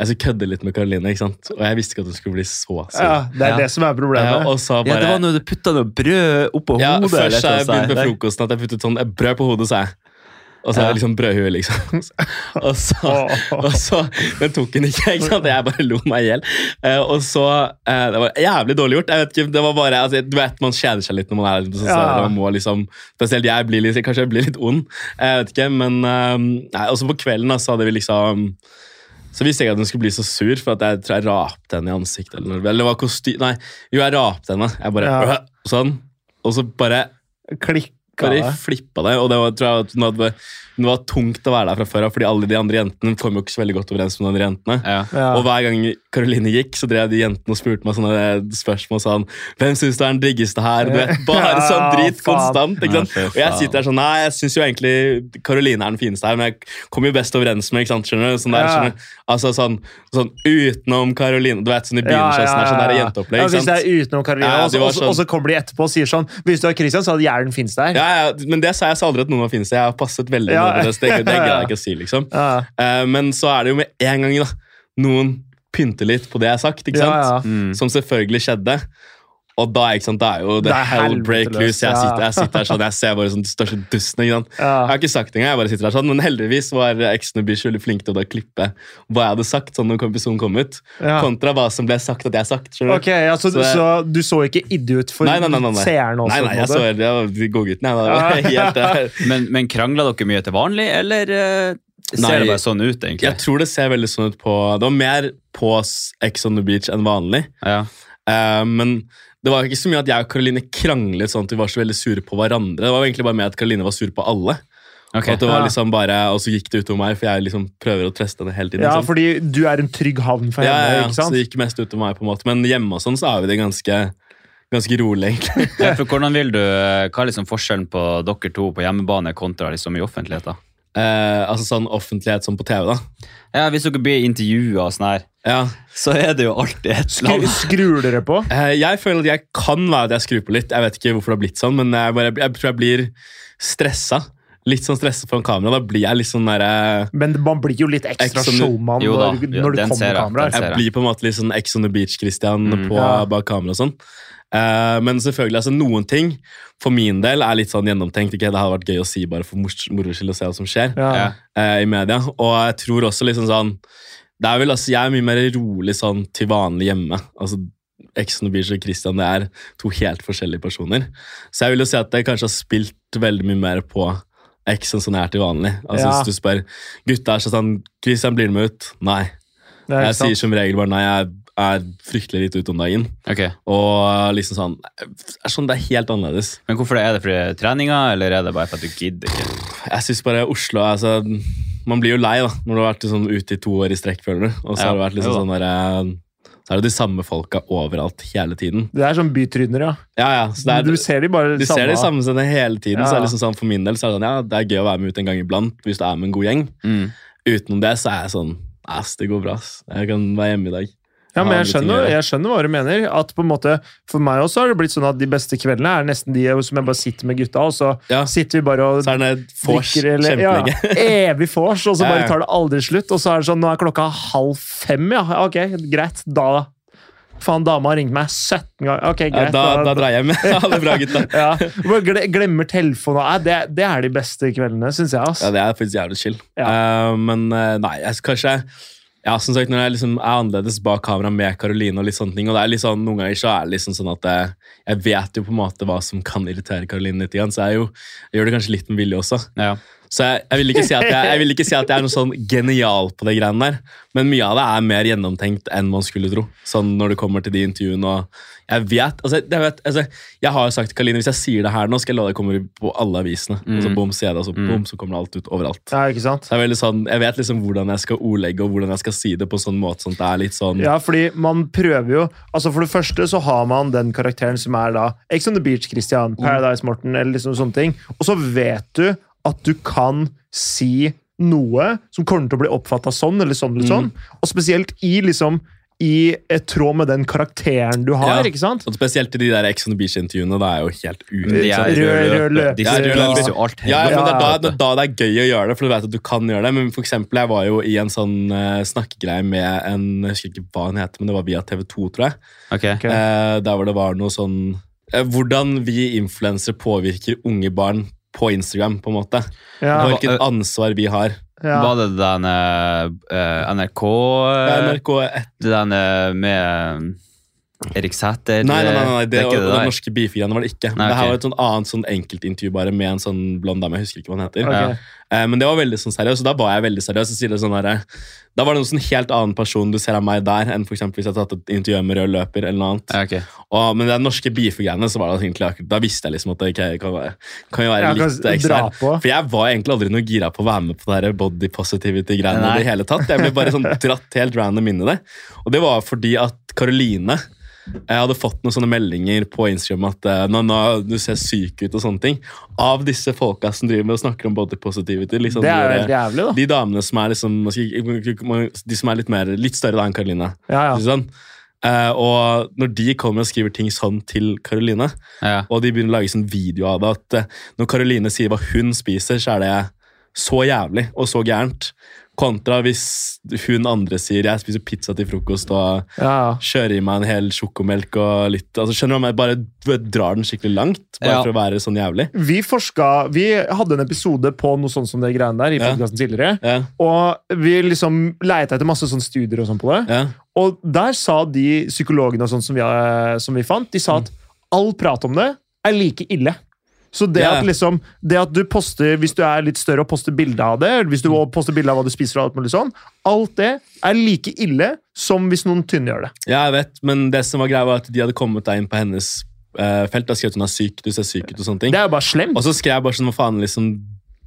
Jeg skulle kødde litt med Karoline, ikke sant? og jeg visste ikke at hun skulle bli så sur. ja. Det Ja. er det som er Eh, problemet. og så Ja, bare... det var når du putta noe brød oppå Ja, hodet. først eller har noe jeg sånt. begynt med Det- frokosten at jeg puttet sånn eh, brød på hodet, sa jeg. Og så er Ja. det liksom brødhue, liksom. Og så, Åh. og så Den tok hun ikke, ikke sant? Jeg bare lo meg i hjel. Eh, og så eh, Det var jævlig dårlig gjort. Jeg vet ikke, det var bare, altså, Du vet, man kjeder seg litt når man er litt sånn. Ja. Man må liksom, spesielt jeg blir litt, kanskje jeg blir litt ond. Jeg vet ikke, men eh, nei, Også på kvelden da, så hadde vi liksom så visste jeg ikke at hun skulle bli så sur, for at jeg tror jeg rapte henne i ansiktet. Eller, noe. eller det var kosty... Nei, jo, jeg rapte henne. Jeg bare Ja. Sånn. Og så bare Klikka bare det. flippa det. Og det var, tror jeg, at hun hadde, hun var tungt å være der fra før av, fordi alle de andre jentene kom jo ikke så veldig godt overens med de andre jentene. Ja. Ja. Og hver gang Karoline gikk, så drev de jentene og spurte meg sånne spørsmål sånn Hvem syns du er den diggeste her? Du vet, bare sånn drit Ja, faen. konstant. ikke sant? Ja, fy Og jeg sitter der sånn Nei, jeg syns jo egentlig Karoline er den fineste her, men jeg kommer jo best overens med ikke sant, skjønner du? Sånn der, Ja. skjønner du? Altså sånn, sånn utenom Karoline Du vet, sånn i begynnerklassen her, sånn der jenteopplegg. Ja, ikke hvis det sant? er utenom Karoline, Ja, og de så- var og så- sånn- og så kommer de etterpå og sier sånn Hvis du var Christian, så hadde hjernen finnes der. Ja, ja, men det sa jeg så aldri at noen var fineste. Jeg har passet veldig Ja. med på det. så Det det gidder jeg ikke å si, liksom. Ja. Eh, men så er det jo med en gang da, noen pynter litt på det jeg har sagt, ikke Ja, sant? ja. Mm. som selvfølgelig skjedde. Og da ikke sant, da er jo Det det er hell helvete break løs, loose. Jeg ja. sitter, jeg sitter her sånn, jeg ser bare sånn de største dusten. ikke sant? Jeg Ja. har ikke sagt det engang, jeg bare sitter her sånn, men heldigvis var Exen og Bish veldig flinke til å da klippe hva jeg hadde sagt, sånn når episoden kom ut, Ja. kontra hva som ble sagt at jeg har sagt. skjønner du? Ok, ja, så, Så det- så du så ikke idiot for Nei, nei, nei, nei, nei. seeren også? Nei, nei, jeg på så en måte? det var de godguttene. jeg, da. Helt, eh, Men, men krangla dere mye til vanlig, eller eh, ser Nei. det bare sånn ut, egentlig? Jeg tror det ser veldig sånn ut på Det var mer på Ex on the Beach enn vanlig. Ja. Eh, men det var ikke så mye at jeg og Karoline kranglet sånn at vi var så veldig sure på hverandre. Det var jo egentlig bare med at Karoline var sur på alle. Ok. Og At det var Ja. liksom bare, og så gikk det utover meg, for jeg liksom prøver å treste henne hele tiden. Ja, ikke sant? fordi du er en trygg havn for ja, henne, ja, ja, ikke så sant? det gikk mest utover meg på en måte. Men hjemme og sånn så er vi det ganske, ganske rolig, egentlig. Ja, for hvordan vil du, Hva er liksom forskjellen på dere to på hjemmebane kontra liksom i offentlighet? da? Eh, altså sånn offentlighet som på TV, da. Ja, Hvis dere blir intervjua og sånn her, Ja. så er det jo alltid et Skru, slag. skrur dere på? Eh, jeg føler at jeg kan være at jeg skrur på litt. Jeg vet ikke hvorfor det har blitt sånn, men jeg, bare, jeg tror jeg blir stressa. Litt sånn stressa foran kamera. Da blir jeg litt sånn derre Men man blir jo litt ekstra Ekstra nu- showman Jo da, når, ja, når det den kommer ser jeg, kameraer. den ser Jeg blir på en måte litt sånn Ex on the Beach-Christian Mm. på Ja. bak kamera og sånn. Eh, men selvfølgelig, altså noen ting for min del er litt sånn gjennomtenkt. Ikke? Det hadde vært gøy å si bare for mors- moro skyld og se hva som skjer Ja. Ja. eh, i media. Og jeg tror også liksom sånn det er vel, altså, Jeg er mye mer rolig sånn til vanlig hjemme. Altså, Exon Beach og Christian det er to helt forskjellige personer. Så jeg vil jo si at jeg kanskje har spilt veldig mye mer på X enn sånn jeg er til vanlig. Altså Ja. Hvis du spør gutta er så sånn 'Christian, blir du med ut?' Nei. Det er ikke Jeg sant. sier som regel bare nei. Jeg er fryktelig lite ute om dagen. Ok, Og liksom sånn, det er sånn Det er helt annerledes. Men hvorfor det? Er det fordi det er treninga, eller er det bare for at du gidder ikke? Jeg syns bare Oslo er så Man blir jo lei da når du har vært sånn ute i to år i strekk, føler du. Og så Ja, har det vært liksom jo da. sånn der, eh, Så er det de samme folka overalt hele tiden. Det er sånn bytryner, ja. Ja, ja, så det er, du ser de bare du ser de samme stedene hele tiden. Så Ja. er det liksom sånn, For min del så er det sånn, ja, det er gøy å være med ut en gang iblant hvis du er med en god gjeng. Mm. Utenom det så er jeg sånn Ass, det går bra. ass. Jeg kan være hjemme i dag. Ja, men har jeg andre ting å skjønner, gjøre. jeg skjønner hva du mener. At på en måte, For meg også har det blitt sånn at de beste kveldene er nesten de som jeg bare sitter med gutta, og så Ja, sitter vi bare og så er det vors drikker eller ja, kjempelenge. Evig vors, og så Ja, ja. bare tar det aldri slutt. Og så er det sånn, nå er klokka halv fem, ja. Ok, greit. Da Faen, dama har ringt meg 17 ganger. Ok, Ja, greit. da, da drar jeg hjem. Ha det bra, gutta. ja. Bare gle- Glemmer telefonen. Nei, det, det er de beste kveldene, syns jeg. ass. Ja, det er faktisk jævlig chill. Eh, men eh, nei, jeg, kanskje ja, som sagt, Når jeg liksom er annerledes bak kamera med Karoline, og litt sånne ting, og det er litt sånn, noen ganger så er det liksom sånn at jeg, jeg vet jo på en måte hva som kan irritere Karoline litt, igjen, så jeg, er jo, jeg gjør det kanskje litt med vilje også. Ja. Så jeg, jeg, vil ikke si at jeg, jeg vil ikke si at jeg er noe sånn genial på de greiene der, men mye av det er mer gjennomtenkt enn man skulle tro. Sånn når det kommer til de intervjuene og Jeg vet, altså, jeg, vet altså, jeg har jo sagt til Kaline hvis jeg sier det her nå, skal jeg la det komme på alle avisene. Og så Mm. bom, sier jeg det, og så Mm. bom, så kommer det alt ut overalt. Ja, ikke sant? Så jeg, er veldig sånn, jeg vet liksom hvordan jeg skal ordlegge og hvordan jeg skal si det på en sånn måte. Sånn at det er litt sånn Ja, fordi man prøver jo Altså For det første så har man den karakteren som er da Ex on the Beach Christian, Mm. Paradise Morten eller liksom sånne ting. Og så vet du at du kan si noe som kommer til å bli oppfatta sånn eller sånn. Mm. eller sånn. Og spesielt i liksom i eh, tråd med den karakteren du har. Ja. ikke sant? og Spesielt i de der Ex on the Beach-intervjuene. Det er jo helt ute. De ikke sant? er Rød- rød løper. De Ja, rød løper. spiser jo alt. Ja, ja, men det er da, Ja, det er da det er gøy å gjøre det, for du vet at du kan gjøre det. Men for eksempel, jeg var jo i en sånn eh, snakkegreie med en Jeg husker ikke hva han heter, men det var via TV2, tror jeg. Ok. Ok. Eh, der hvor det var noe sånn eh, Hvordan vi influensere påvirker unge barn på Instagram, på en måte. Ja, Hva- Hvilket ansvar vi har. ja. Var det den eh, eh, NRK eh, NRK1 Det den eh, med eh, Erik Sæther Nei, nei, nei, nei, det, er og, ikke og der. den norske beefigreiene var det ikke. Nei, Det her ok. var et sånn annet sånn enkeltintervju bare med en sånn blond dame. Jeg husker ikke hva han heter. Ok. ja. Eh, men det var veldig sånn seriøst, og da var jeg veldig seriøs. Og sier det sånn der, da var det en sånn helt annen person du ser av meg der, enn for eksempel hvis jeg hadde tatt et intervju med rød løper. eller noe annet. Ja, ok. Og, men det norske beefegreiene, så var det egentlig akkurat, da visste jeg liksom at ok, kan, være- kan jo være Ja, kan litt ekstra. dra her. på. For jeg var egentlig aldri noe gira på å være med på det her body positivity-greiene. Nei. i det hele tatt. Jeg ble bare sånn dratt helt random inn i det. Og det var fordi at Karoline jeg hadde fått noen sånne meldinger på Instagram at eh, nå, nå, du ser syk ut og sånne ting. Av disse folka som driver med og snakker om body positivity. Liksom, Det er jo de- helt jævlig, da. de damene som er liksom man skal ikke- De som er litt, mer, litt større da enn Karoline. Ja, ikke ja. sant? Eh, og når de kommer og skriver ting sånn til Karoline, Ja. og de begynner å lage sånn video av det at eh, når Karoline sier hva hun spiser, så er det så jævlig og så gærent. Kontra hvis hun andre sier jeg spiser pizza til frokost og ja, ja. kjører i meg en hel sjokomelk og litt altså, Skjønner du hva jeg mener? Bare drar den skikkelig langt, bare Ja. for å være sånn jævlig. Vi forska Vi hadde en episode på noe sånt som det greiene der i Ja. podcasten tidligere. Ja, Og vi liksom leita etter masse sånne studier og sånn på det. ja, Og der sa de psykologene og sånn som, vi, eh, som vi fant, de sa at all prat om det er like ille. Så det Ja. at liksom, det at du poster, hvis du er litt større og poster bilde av det, eller hvis du også poster bilde av hva du spiser og alt mulig sånn, alt det er like ille som hvis noen tynne gjør det. ja, jeg vet, men det som var greia, var at de hadde kommet deg inn på hennes eh, felt. Da skrev hun at hun er syk, du ser syk ut og sånne ting. Det er jo bare slemt. Og så skrev jeg bare sånn, hva faen, liksom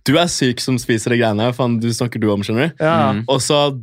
Du er syk som spiser de greiene her, faen, du snakker du om, skjønner du? Ja, Mm. Og så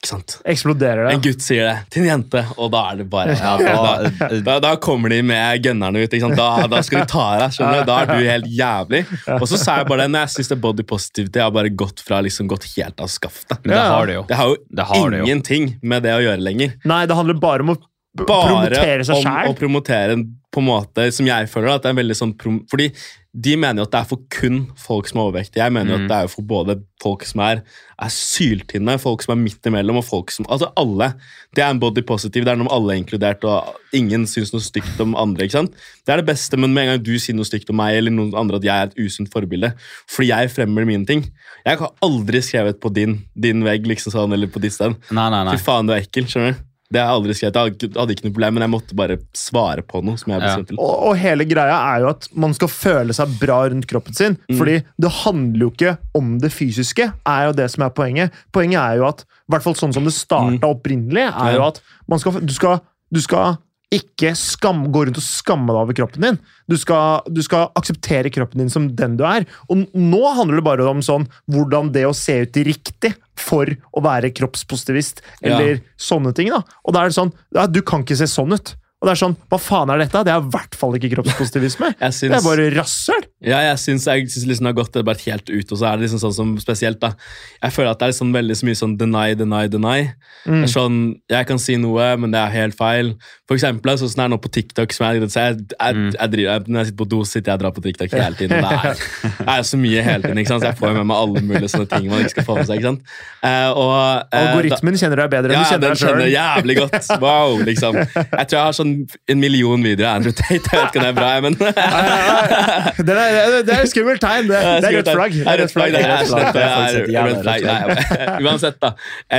Ikke sant? eksploderer En det. gutt sier det til en jente, og da er det bare ja, da, da, da, da kommer de med gønnerne ut. Ikke sant? Da, da skal de ta deg. skjønner du? Da er du helt jævlig. Og så sa jeg bare det, når jeg syns det er body positivity, jeg har bare gått fra liksom gått helt av skaftet. men det Ja. har du jo. Det har jo Det har du jo. ingenting med det å gjøre lenger. Nei, det handler bare om å p- Bare promotere seg om å sjæl. promotere en på en måte som jeg føler at det er veldig sånn prom... Fordi de mener jo at det er for kun folk som er overvektige. Jeg mener jo Mm. at det er jo for både folk som er, er syltynne, folk som er midt imellom, og folk som Altså alle. Det er en body positive. Det er noe om alle er inkludert, og ingen syns noe stygt om andre. ikke sant? Det er det beste, men med en gang du sier noe stygt om meg eller noen andre, at jeg er et usunt forbilde, fordi jeg fremmer mine ting Jeg har aldri skrevet på din, din vegg liksom sånn, eller på ditt sted. Nei, nei, nei. Fy faen, du er ekkel. skjønner du? Det har jeg aldri skrevet. Jeg hadde- hadde ikke noe problem, men jeg måtte bare svare på noe. som jeg Ja. bestemte. Og, og hele greia er jo at man skal føle seg bra rundt kroppen sin. Fordi det handler jo ikke om det fysiske, er jo det som er poenget. Poenget er jo at, i hvert fall sånn som det starta opprinnelig, er jo at man skal, du skal, du skal ikke skam, gå rundt og skamme deg over kroppen din. Du skal, du skal akseptere kroppen din som den du er. Og nå handler det bare om sånn, hvordan det å se ut riktig for å være kroppspositivist, eller sånne ting. da. Og da er det sånn, ja, Du kan ikke se sånn ut. Og det er sånn, Hva faen er dette? Det er i hvert fall ikke kroppspositivisme. Jeg Det syns- er bare rasshøl! Ja, jeg syns, jeg syns liksom det har gått bare helt ut, og så er det liksom sånn som spesielt da. Jeg føler at det er liksom veldig så mye sånn deny, deny, deny. Mm. Det er sånn, Jeg kan si noe, men det er helt feil. For eksempel, sånn som det er nå på TikTok som jeg, så jeg, jeg, Mm. jeg driver, jeg, Når jeg sitter på do, så sitter jeg og drar på TikTok hele tiden. og Det er, det er så mye hele tiden, ikke sant? så jeg får jo med meg alle mulige sånne ting man ikke skal få med seg. ikke sant? Eh, og, eh, da- Algoritmen kjenner deg bedre enn ja, du kjenner den deg sjøl. kjenner jeg jævlig godt. Wow, liksom. Jeg tror jeg har sånn en million videoer av Andrew Tate. Jeg vet ikke om det er bra, jeg, men Det er, det er et skummelt tegn. Det, det er rødt flagg. Det er rødt flagg. Det er rødt flagg. rødt flagg. Det Folk setter er jævla rødt flagg. Nei, Uansett, da.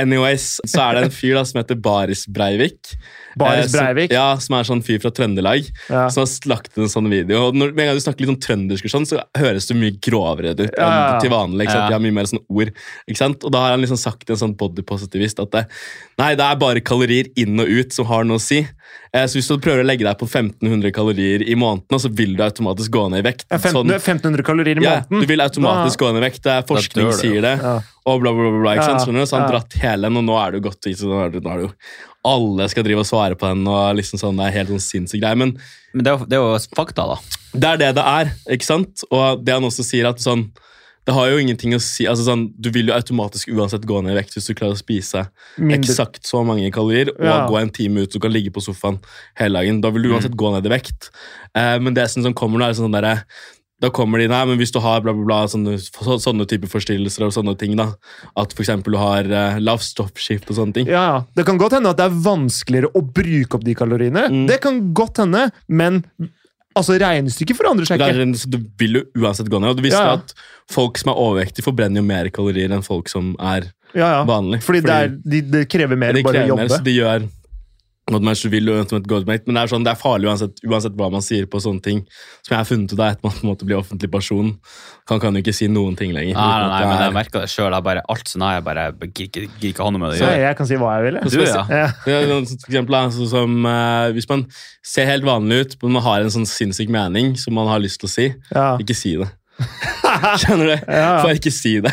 Anyways, så er det en fyr da som heter Baris Breivik. Eh, Baris som- Breivik. Ja, Som er sånn fyr fra Trøndelag. Ja. Som har lagt en sånn video. Og når, med en gang du snakker litt om trøndersk, og sånn, så høres du mye grovere ut enn Ja, ja. til vanlig. ikke sant? Ja. De har mye mer sånn ord. ikke sant? Og da har han liksom sagt til en sånn bodypositivist at det, nei, det er bare kalorier inn og ut som har noe å si. Eh, Så hvis du prøver å legge deg på 1500 kalorier i måneden, så vil du automatisk gå ned i vekt. Ja, 15, Sånn- 1500 kalorier i ja, måneden. du vil automatisk gå ned i vekt. Det er forskning dør du jo. sier det. Ja. Og bla, bla, bla, bla, ikke sant? Ja, Skjønner du? Så han ja. dratt hele den, og nå er det jo godt gitt. så Nå er det, nå er det jo alle skal drive og svare på den, og liksom sånn, det er helt sånn sinnssyk greie. Men Men det er, jo- det er jo fakta, da. det er det det er, ikke sant? Og det han også sier, at sånn det har jo ingenting å si, altså sånn, Du vil jo automatisk uansett gå ned i vekt hvis du klarer å spise Mindre. eksakt så mange kalorier og Ja. Mm. gå en time ut og kan ligge på sofaen hele dagen. Da vil du uansett gå ned i vekt. Eh, men det jeg synes som kommer nå, er sånn derre da kommer de, nei, men Hvis du har bla, bla, bla, sånne, så, sånne type forstyrrelser og sånne ting, da, at f.eks. du har eh, lavt stoffskift og sånne ting Ja, ja. Det kan godt hende at det er vanskeligere å bruke opp de kaloriene. Mm. Det kan godt hende, men altså, regnestykket forandrer seg Det er ikke. en- så Du vil jo uansett gå ned. Og du visste Ja, ja. at folk som er overvektige, forbrenner jo mer kalorier enn folk som er Ja, ja. vanlig. Fordi det, er, de, det krever mer å det bare krever mer, jobbe. så de gjør at man ikke vil og ønsker et godt mate, men det er, sånn, det er farlig uansett, uansett hva man sier på sånne ting. Som jeg har funnet ut av etter man på en måte blir offentlig person. Han kan jo ikke si noen ting lenger. Nei, Ah, nei, nei, uten at men det jeg merker det sjøl. Alt sånn her, jeg bare gidder ikke- gidder ikke ha noe med det å Så gjøre. jeg kan si hva jeg ville. Du, ja. Ja. er- Ja, for eksempel, da, sånn som, eh, hvis man ser helt vanlig ut, men man har en sånn sinnssyk mening som man har lyst til å si, Ja. ikke si det. Skjønner du? Ja. Bare ikke si det.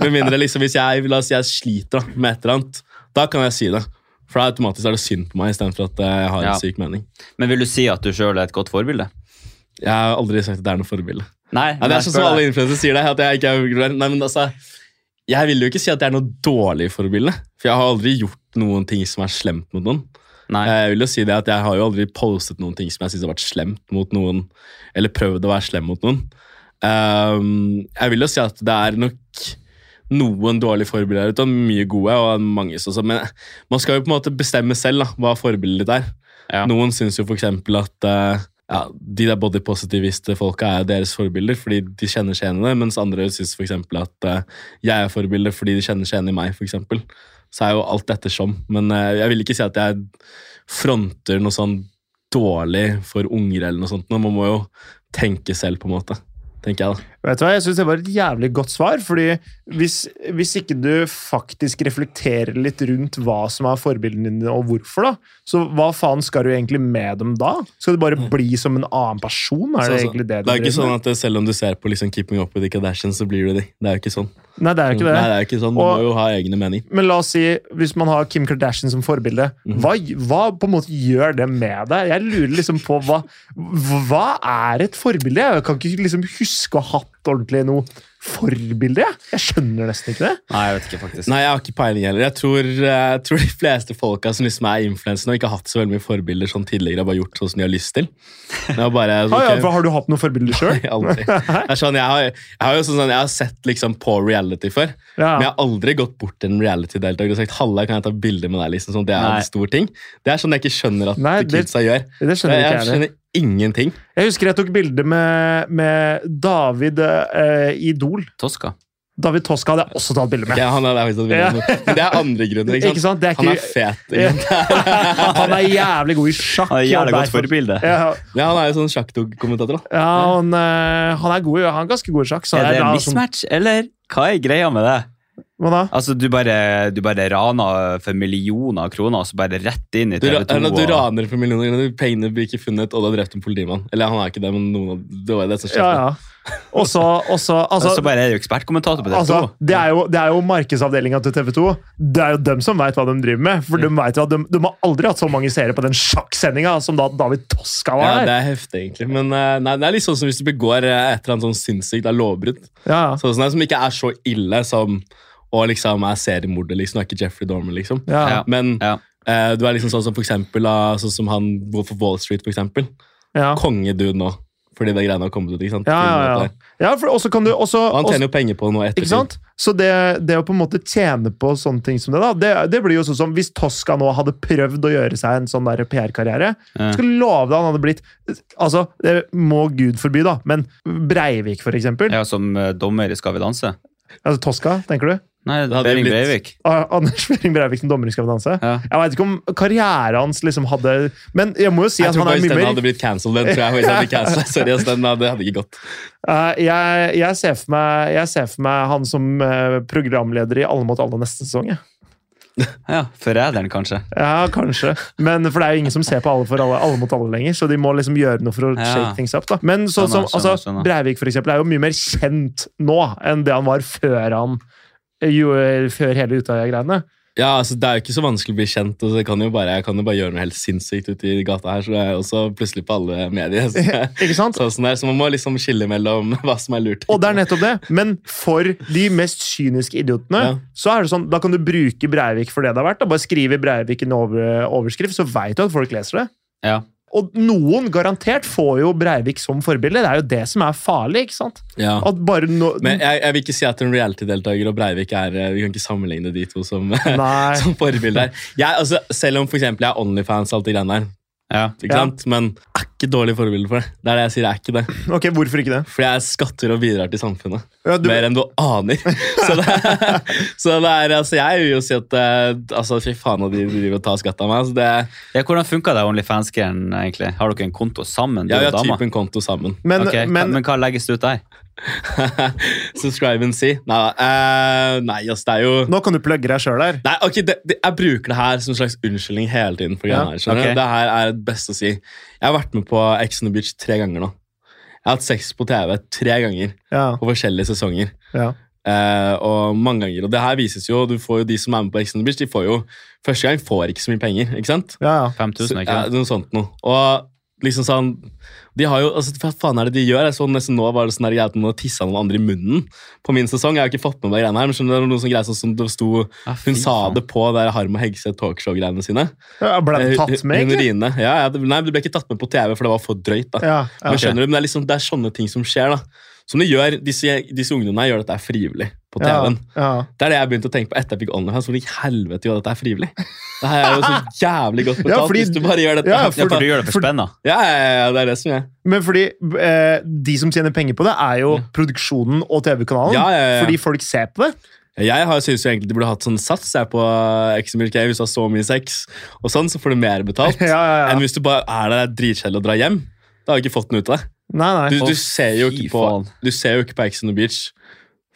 Med mindre liksom, hvis jeg, la oss si jeg sliter da, med et eller annet, da kan jeg si det. For da automatisk er det synd på meg istedenfor at eh, jeg har en Ja. syk mening. Men vil du si at du sjøl er et godt forbilde? Jeg har aldri sagt at det er noe forbilde. Nei, Ja, det er sånn som alle influensere sier det. at Jeg ikke er Nei, men altså, jeg vil jo ikke si at jeg er noe dårlig forbilde, for jeg har aldri gjort noen ting som er slemt mot noen. Eh, Nei. Jeg vil jo si det at jeg har jo aldri postet noen ting som jeg synes har vært slemt mot noen, eller prøvd å være slem mot noen. Ehm, jeg vil jo si at det er nok noen dårlige forbilder der ute, og mye gode, og mange som som- Men man skal jo på en måte bestemme selv da, hva forbildet ditt er. Ja. Noen syns jo for eksempel at eh, ja, de der bodypositiviste folka er jo deres forbilder fordi de kjenner seg igjen i det, mens andre syns for eksempel at eh, jeg er forbilde fordi de kjenner seg igjen i meg, for eksempel. Så er jo alt ettersom. Men eh, jeg vil ikke si at jeg fronter noe sånn dårlig for unger eller noe sånt. men Man må jo tenke selv, på en måte. Tenker jeg, da. Vet du hva, Jeg syns det var et jævlig godt svar. fordi hvis, hvis ikke du faktisk reflekterer litt rundt hva som er forbildene dine, og hvorfor, da, så hva faen skal du egentlig med dem da? Skal du bare bli som en annen person? Er det Så- så- egentlig det du det er ikke driver Mm. sånn med? at eh, selv om du ser på liksom Keeping Up With The Kardashians, så blir du de. Det er jo ikke sånn. Nei, det er jo ikke det. Nei, det er jo ikke sånn. Man Og- må jo ha egne mening. Men la oss si, hvis man har Kim Kardashian som forbilde, Mm. hva, hva på en måte gjør det med deg? Jeg lurer liksom på hva, hva er et forbilde? Jeg kan ikke liksom huske å ha hatt ordentlig noe forbilde? jeg. Jeg skjønner nesten ikke det. Nei, jeg vet ikke, faktisk. Nei, jeg har ikke peiling heller. Jeg tror, jeg tror de fleste folka som liksom er influensere, og ikke har hatt så veldig mye forbilder sånn tidligere, har bare gjort sånn som de har lyst til. Det var bare, Ah, ja, ok. for har du hatt noen forbilder sjøl? Nei, aldri. Det er sånn, jeg, har, jeg har jo sånn, sånn, jeg har sett liksom på reality før, Ja. men jeg har aldri gått bort til en reality-deltaker og sagt «Halla, kan jeg ta bilder med deg?» liksom, sånn, Det er Nei. en stor ting. Det er sånn jeg ikke skjønner at Nei, det- kidsa gjør. Det skjønner Jeg, ikke jeg jeg. heller. skjønner ingenting. Jeg husker jeg tok bilde med, med David eh, Idol. Tosca. David Toska hadde jeg også tatt bilde Ok, med. han er, det er faktisk et veldig- Men det er andre grunner. Ikke Ikke sant? sant? Det er Han er ikke, fet. liksom. Ikke sant? han er jævlig god i sjakk. Han er jævlig godt derfor- forbilde. Ja, Ja, han er jo sånn sjakkdog-kommentator. da. ja han, eh, han er god i- han er ganske god i sjakk. Så Er da det en sånn- mismatch, eller? Hva er greia med det? Hva da? Altså, du bare, du bare raner for millioner av kroner, og så bare rett inn i Du, ra- TV2. eller at du og- raner for millioner kroner, pengene blir ikke funnet, og du har drept en politimann. Eller han er ikke det, men noen av det var jo det som Ja, skjedde. ja. Og så og så- altså, så bare er du ekspertkommentator på TV2. altså, det er jo, det er jo markedsavdelinga til TV 2. Det er jo dem som veit hva de driver med. For de, vet jo at de, de har aldri hatt så mange seere på den sjakksendinga som da David Toska Ja, var det der. er heftig, egentlig. Men eh, nei, det er litt sånn som hvis du begår eh, et eller annet sånn sinnssykt det er lovbrudd. Ja, Sånn som- som ikke er så ille som å liksom er seriemorder, liksom. Du er ikke Jeffrey Dorman, liksom. ja. Ja. Men Ja. eh, du er liksom sånn som for eksempel ah, sånn som han bor for Wall Street, for eksempel. ja. Kongedude nå. Fordi det greiene har kommet ut. ikke sant? Ja, ja, Filmen ja. og det ja for også kan du også, der. Og han også- tjener jo penger på det nå etter. Ikke sant? Så det, det å på en måte tjene på sånne ting som det, da, det, det blir jo sånn som hvis Tosca nå hadde prøvd å gjøre seg en sånn der PR-karriere. Ja. Jeg skulle love deg han hadde blitt Altså, det må Gud forby, da, men Breivik, for eksempel. Ja, som eh, dommer i Skal vi danse? Altså Tosca, tenker du? Nei, hadde Behring blitt- Breivik. Ah, Anders Behring Breivik som dommer i Skal vi danse? Ja. Jeg veit ikke om karrieren hans liksom hadde Men jeg må jo si Jeg at tror han er faktisk mye den mer hadde blitt cancelled. Den tror jeg faktisk hadde blitt cancelled. Seriøst, den hadde, hadde ikke gått. Eh, jeg, jeg, ser for meg, jeg ser for meg han som eh, programleder i Alle mot alle neste sesong. jeg. Ja, Forræderen, kanskje. Ja, kanskje. Men for det er jo ingen som ser på alle for alle, alle mot alle lenger, så de må liksom gjøre noe for å Ja. shake things up. da. Men sånn som, Skjønner, skjønner, altså, skjønner. Breivik for eksempel, er jo mye mer kjent nå enn det han var før han eh, jo, før hele Utøya-greiene. Ja, altså Det er jo ikke så vanskelig å bli kjent. og så kan jo bare, Jeg kan jo bare gjøre noe helt sinnssykt ute i gata her, så det er jo også plutselig på alle medier. Så, Ikke sant? så, sånn der, så man må liksom skille mellom hva som er lurt. Og det er nettopp det. Men for de mest kyniske idiotene, Ja. så er det sånn, da kan du bruke Breivik for det det har vært. Da. Bare skrive Breivik i en over, overskrift, så veit du at folk leser det. Ja. Og noen garantert får jo Breivik som forbilde. Det er jo det som er farlig. ikke sant? Ja. At bare no Men jeg, jeg vil ikke si at en reality-deltaker og Breivik er eh, Vi kan ikke sammenligne de to som, Nei. som forbilder. Jeg, altså, selv om for eksempel, jeg er Onlyfans og alt det greiene der, Ja. ikke Ja. sant? men er ikke dårlig forbilde for det. Det er det jeg sier. jeg er ikke det. Ok, Hvorfor ikke det? For jeg skatter og bidrar til samfunnet. Ja, du, Mer enn du aner. Så det, så det er, altså, jeg vil jo si at eh, altså, Fy faen, og de driver og tar skatt av meg. Så det, ja hvordan funka det OnlyFans-greien, egentlig? Har dere en konto sammen, du ja, og vi har dama? typen konto sammen. men, Ok, men, men hva legges det ut der? Subscribe and see. Nei, eh, nei ass, det er jo nå kan du plugge deg sjøl her. Nei, ok, det, det, Jeg bruker det her som en slags unnskyldning hele tiden. for Ja, greiene her, skjønner ok. du? Det her er det beste å si. Jeg har vært med på Ex on the Beach tre ganger nå. Jeg har hatt sex på TV tre ganger Ja, på forskjellige sesonger. ja. Eh, og mange ganger, og det her vises jo, du får jo De som er med på Ex on the Beach, de får jo første gang får ikke så mye penger. ikke sant? ja, ja. 5000, Så- ikke ja, det? noe sånt noe. Og liksom sånn De har jo, altså Hva faen er det de gjør? Jeg så nesten nå var det sånn der greie at noen tissa noen andre i munnen på min sesong. Jeg har ikke fått med meg greiene her, men skjønner du, det var noen sånne greier sånn som det sto Ja, Ah, fy Hun sa faen. det på der Harm og Hegseth talkshow-greiene sine. Eh, Ja, Ble den tatt med, Hun egentlig? Rine. Ja, ja, det, nei, det ble ikke tatt med på TV, for det var for drøyt. da. Ja, ja. Men skjønner du, men det er, liksom, det er sånne ting som skjer. da. Som de gjør, Disse, disse ungdommene her gjør dette her frivillig på Ja, TV-en. ja. Det er det jeg begynte å tenke på etter jeg fikk OnlyFans. Hvordan i helvete gjør dette her frivillig? Det her er jo så jævlig godt betalt Ja, fordi- hvis du bare gjør dette. Ja, her. Ja, for du gjør det for- for spenna. Ja, ja, ja, ja, det er det som er. Men fordi eh, de som tjener penger på det, er jo produksjonen og TV-kanalen. Ja, ja, ja. Fordi folk ser på det. Jeg har synes jo egentlig de burde hatt sånn sats jeg på Eximilk. Hvis du har så mye sex, og sånn, så får du mer betalt Ja, ja, ja. enn hvis du bare er der det er dritkjedelig og drar hjem. Da har du ikke fått noe ut av det. Nei, nei. Du, Å, du, ser jo fy ikke på, faen. du ser jo ikke på Ex on the Beach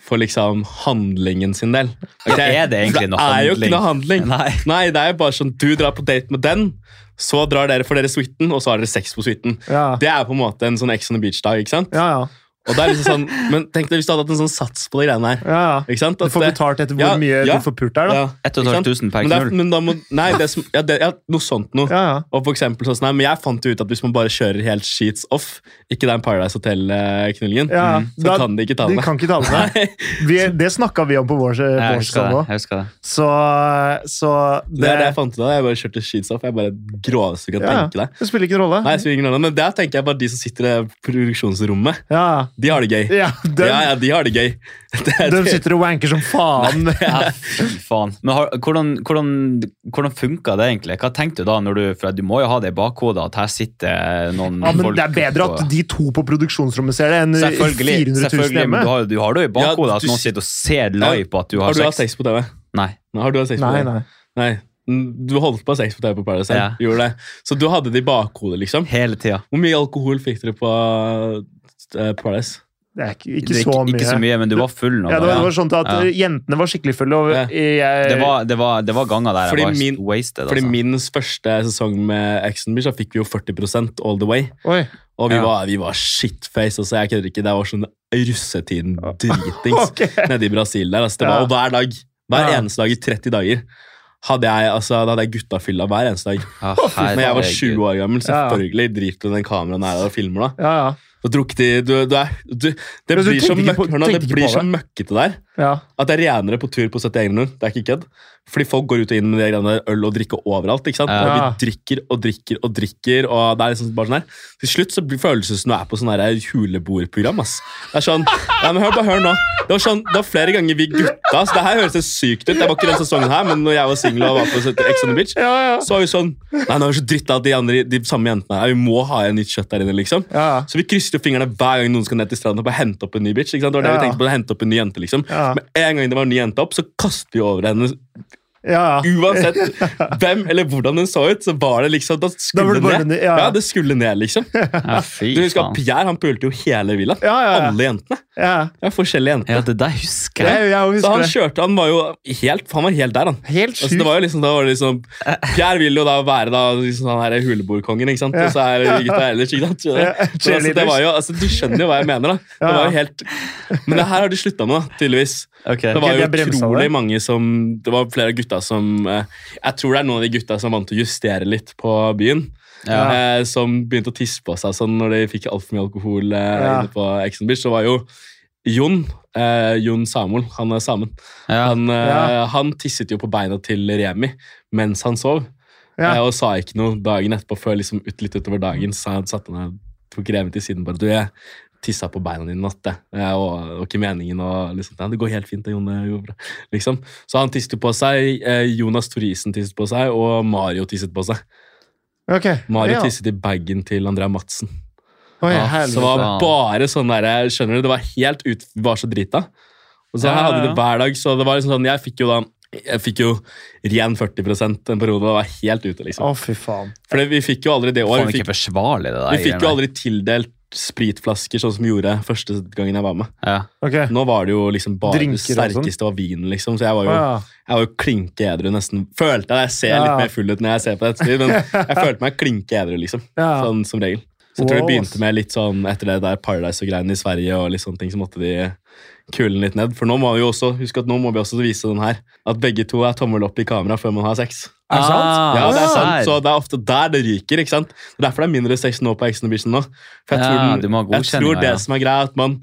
for liksom handlingen sin del. Ok? Er det egentlig noe Det er jo ikke noe handling. Nei. Nei, det er jo bare sånn du drar på date med den, så drar dere for dere suiten, og så har dere sex på suiten. Ja, Det er på en måte en sånn Ex on the Beach-dag, ikke sant? ja. ja. Og det er liksom sånn, Men tenk deg hvis du hadde hatt en sånn sats på de greiene her. Ja, ja. Ikke sant? Du får betalt etter hvor Ja, mye ja, du får pult der, da. ja, 1500 per men det er, knull. men da må, nei, det som, ja, det, ja, noe sånt noe. Ja, ja. Og for eksempel sånn, nei, men Jeg fant jo ut at hvis man bare kjører helt sheets off, ikke den Paradise Hotel-knullingen, Ja, ja. Mm, så Da- kan de ikke ta De med. kan ikke ta med deg. Vi, det snakka vi om på vår Jeg vårskall husker det. nå. Jeg husker det. Så, så Det, er det jeg fant ut av. Jeg bare kjørte sheets off. Jeg bare groveste du kan Ja, tenke deg. Det spiller ingen rolle. Nei, jeg spiller ingen rolle, men der tenker jeg bare de som sitter i produksjonsrommet, Ja, de har det gøy. ja, de, ja, ja, de har det gøy. Det er- de sitter og wanker som faen. Ja, fy faen. Men har, hvordan, hvordan, hvordan funka det egentlig? Hva tenkte du da? når du, For du må jo ha det i bakhodet at her sitter noen Ja, men folk Det er bedre på- at de to på produksjonsrommet ser det, enn 400 Selvfølgelig, 000 selvfølgelig hjemme. men du har, du har det jo i bakhodet Ja, at du noen s- sitter og ser live på at du Har har du hatt sex. sex på TV? Nei. Nei, Har du hatt sex på Nei, TV? nei. Nei. Mm, Du holdt på å ha sex på TV på Paradise. Ja. Ja. Gjorde det. Så du hadde det i bakhodet, liksom. Hele tida. Hvor mye alkohol fikk dere på eh, Paradise? Det er ikke, Det ikke er så mye. Ikke så mye, men du var full nå. Ja, det, var, da. det var sånn at Ja. eh, jentene var skikkelig fulle. Og eh, Ja. jeg, Det var, det var, det var ganger der Fordi jeg var min- wasted. Fordi Altså. min første sesong med Ex on the Beach, da fikk vi jo 40 all the way. Oi. Og vi, Ja. var, vi var shitface. Altså, jeg kødder ikke. Det var sånn russetiden-dritings Ok. nede i Brasil der. Altså, det var Ja. og hver dag. Hver Ja. eneste dag i 30 dager. Hadde jeg, altså, da hadde jeg guttafylla hver eneste dag. Ja, Når jeg var herregud. 20 år gammel, Ja. selvfølgelig driter du den kameraen her og filmer. da. Ja, ja. Og drukket i du, du er, du, Det Men du blir så, tenkte ikke møkk, på- hør nå, det tenkte ikke blir på så det? møkkete der ja. at det er renere på tur på 70 Engler. Det er ikke kødd. Fordi folk går ut og inn med de greiene der øl og drikke overalt. ikke sant? Og Ja. vi drikker og drikker og drikker. og det er liksom bare sånn her. Til slutt så blir føles det som du er på sånn her huleboerprogram. ass. Det er sånn, nei, men hør bare hør nå. Det var sånn, det var flere ganger vi gutta så Det her høres helt sykt ut. Det var ikke den sesongen her, men når jeg var singel og var på Ex on the Beach, Ja, ja. så var vi sånn Nei, nå er vi så dritt av de, andre, de samme jentene her. Vi må ha en nytt kjøtt der inne, liksom. ja. Så vi krysser jo fingrene hver gang noen skal ned til stranden og bare hente opp en ny bitch. ikke sant? Det var det Ja. vi tenkte på, å hente opp en ny jente, liksom. Ja. Med en gang det var en ny jente opp, så kastet vi over henne. ja, ja. Uansett hvem eller hvordan hun så ut, så var det liksom, da Da var skulle det det bare ned. ned, ja, Ja. ja. det skulle ned, liksom. Ja, fy Du husker at faen. Pierre han pulte jo hele villaen. Ja, ja, ja. Alle jentene. ja. Ja, forskjellige jenter. Ja, det der husker jeg. Jeg, jeg Så husker han det. kjørte, han var jo helt, han var helt der, han. Helt Altså, det sjukt. var jo liksom, da var det liksom, Pierre vil jo da være da, liksom, han her hulebordkongen, ikke sant? Og så er det gutta ellers, ikke sant? Ja, Men, altså, det var jo, altså, du skjønner jo hva jeg mener, da. Det Ja, ja. var jo helt... Men det her har de sluttet med, da, tydeligvis. Ok. Det Ok, var de jo har bremsa utrolig det. mange som... Det var flere gutta som... eh, Jeg tror det er noen av de gutta som vant til å justere litt på byen. Ja. eh, Som begynte å tisse på seg sånn når de fikk alt for mye alkohol eh, Ja. inne på Exxon Beach. Så var jo Jon, eh, Jon Samuel, han er samen. Ja. Han, eh, Ja. han tisset jo på beina til Remi mens han sov, Ja. eh, og sa ikke noe dagen etterpå før liksom ut, litt utover dagen. Så han satte ned, tok Remi til siden bare Du, jeg tissa på beina dine i natt, jeg. Eh, og det var ikke meningen. Og liksom, ja, det går helt fint, det, Jon. det går bra», Liksom. Så han tisset jo på seg. Eh, Jonas Torisen tisset på seg, og Mario tisset på seg. Ok. Mario ja. tisset i bagen til Andrea Madsen. Oi, Ja, helvete. Så det var Faen. bare sånn der, skjønner du, det var helt ut, vi var så drita. Og så Ja, her hadde vi ja. det hver dag, så det var liksom sånn, jeg fikk jo da, jeg fikk jo ren 40 en periode, og var helt ute Å, liksom. fy faen. For det- vi fikk jo aldri det år, Faen, vi ikke fikk, forsvarlig, det der. vi fikk jo greiene. aldri tildelt spritflasker sånn som vi gjorde første gangen jeg var med. Ja. Ok. Nå var det jo liksom bare Drinker og det sånn. sterkeste var vin liksom, så jeg var Å, jo, ja. jeg var jo klinke edru nesten. Følte jeg, jeg ser Ja. litt mer full ut når jeg ser på det ettertid, men jeg følte meg klinke edru liksom, Ja. sånn som regel. Så jeg Wow, tror det ass. begynte med litt sånn etter det der Paradise og greiene i Sverige og litt sånne ting, så måtte de kulen litt ned. For nå må vi jo også, husk at nå må vi også vise den her, at begge to er tommel opp i kamera før man har sex. Er det sant? Ah, Ja, det er der. sant, så det er ofte der det ryker, ikke sant? Det er derfor det er mindre sex nå på Ex on the Beach enn nå. For jeg tror, Ja, den- du må ha jeg tror godkjenninga, det ja. som er greia, er at man,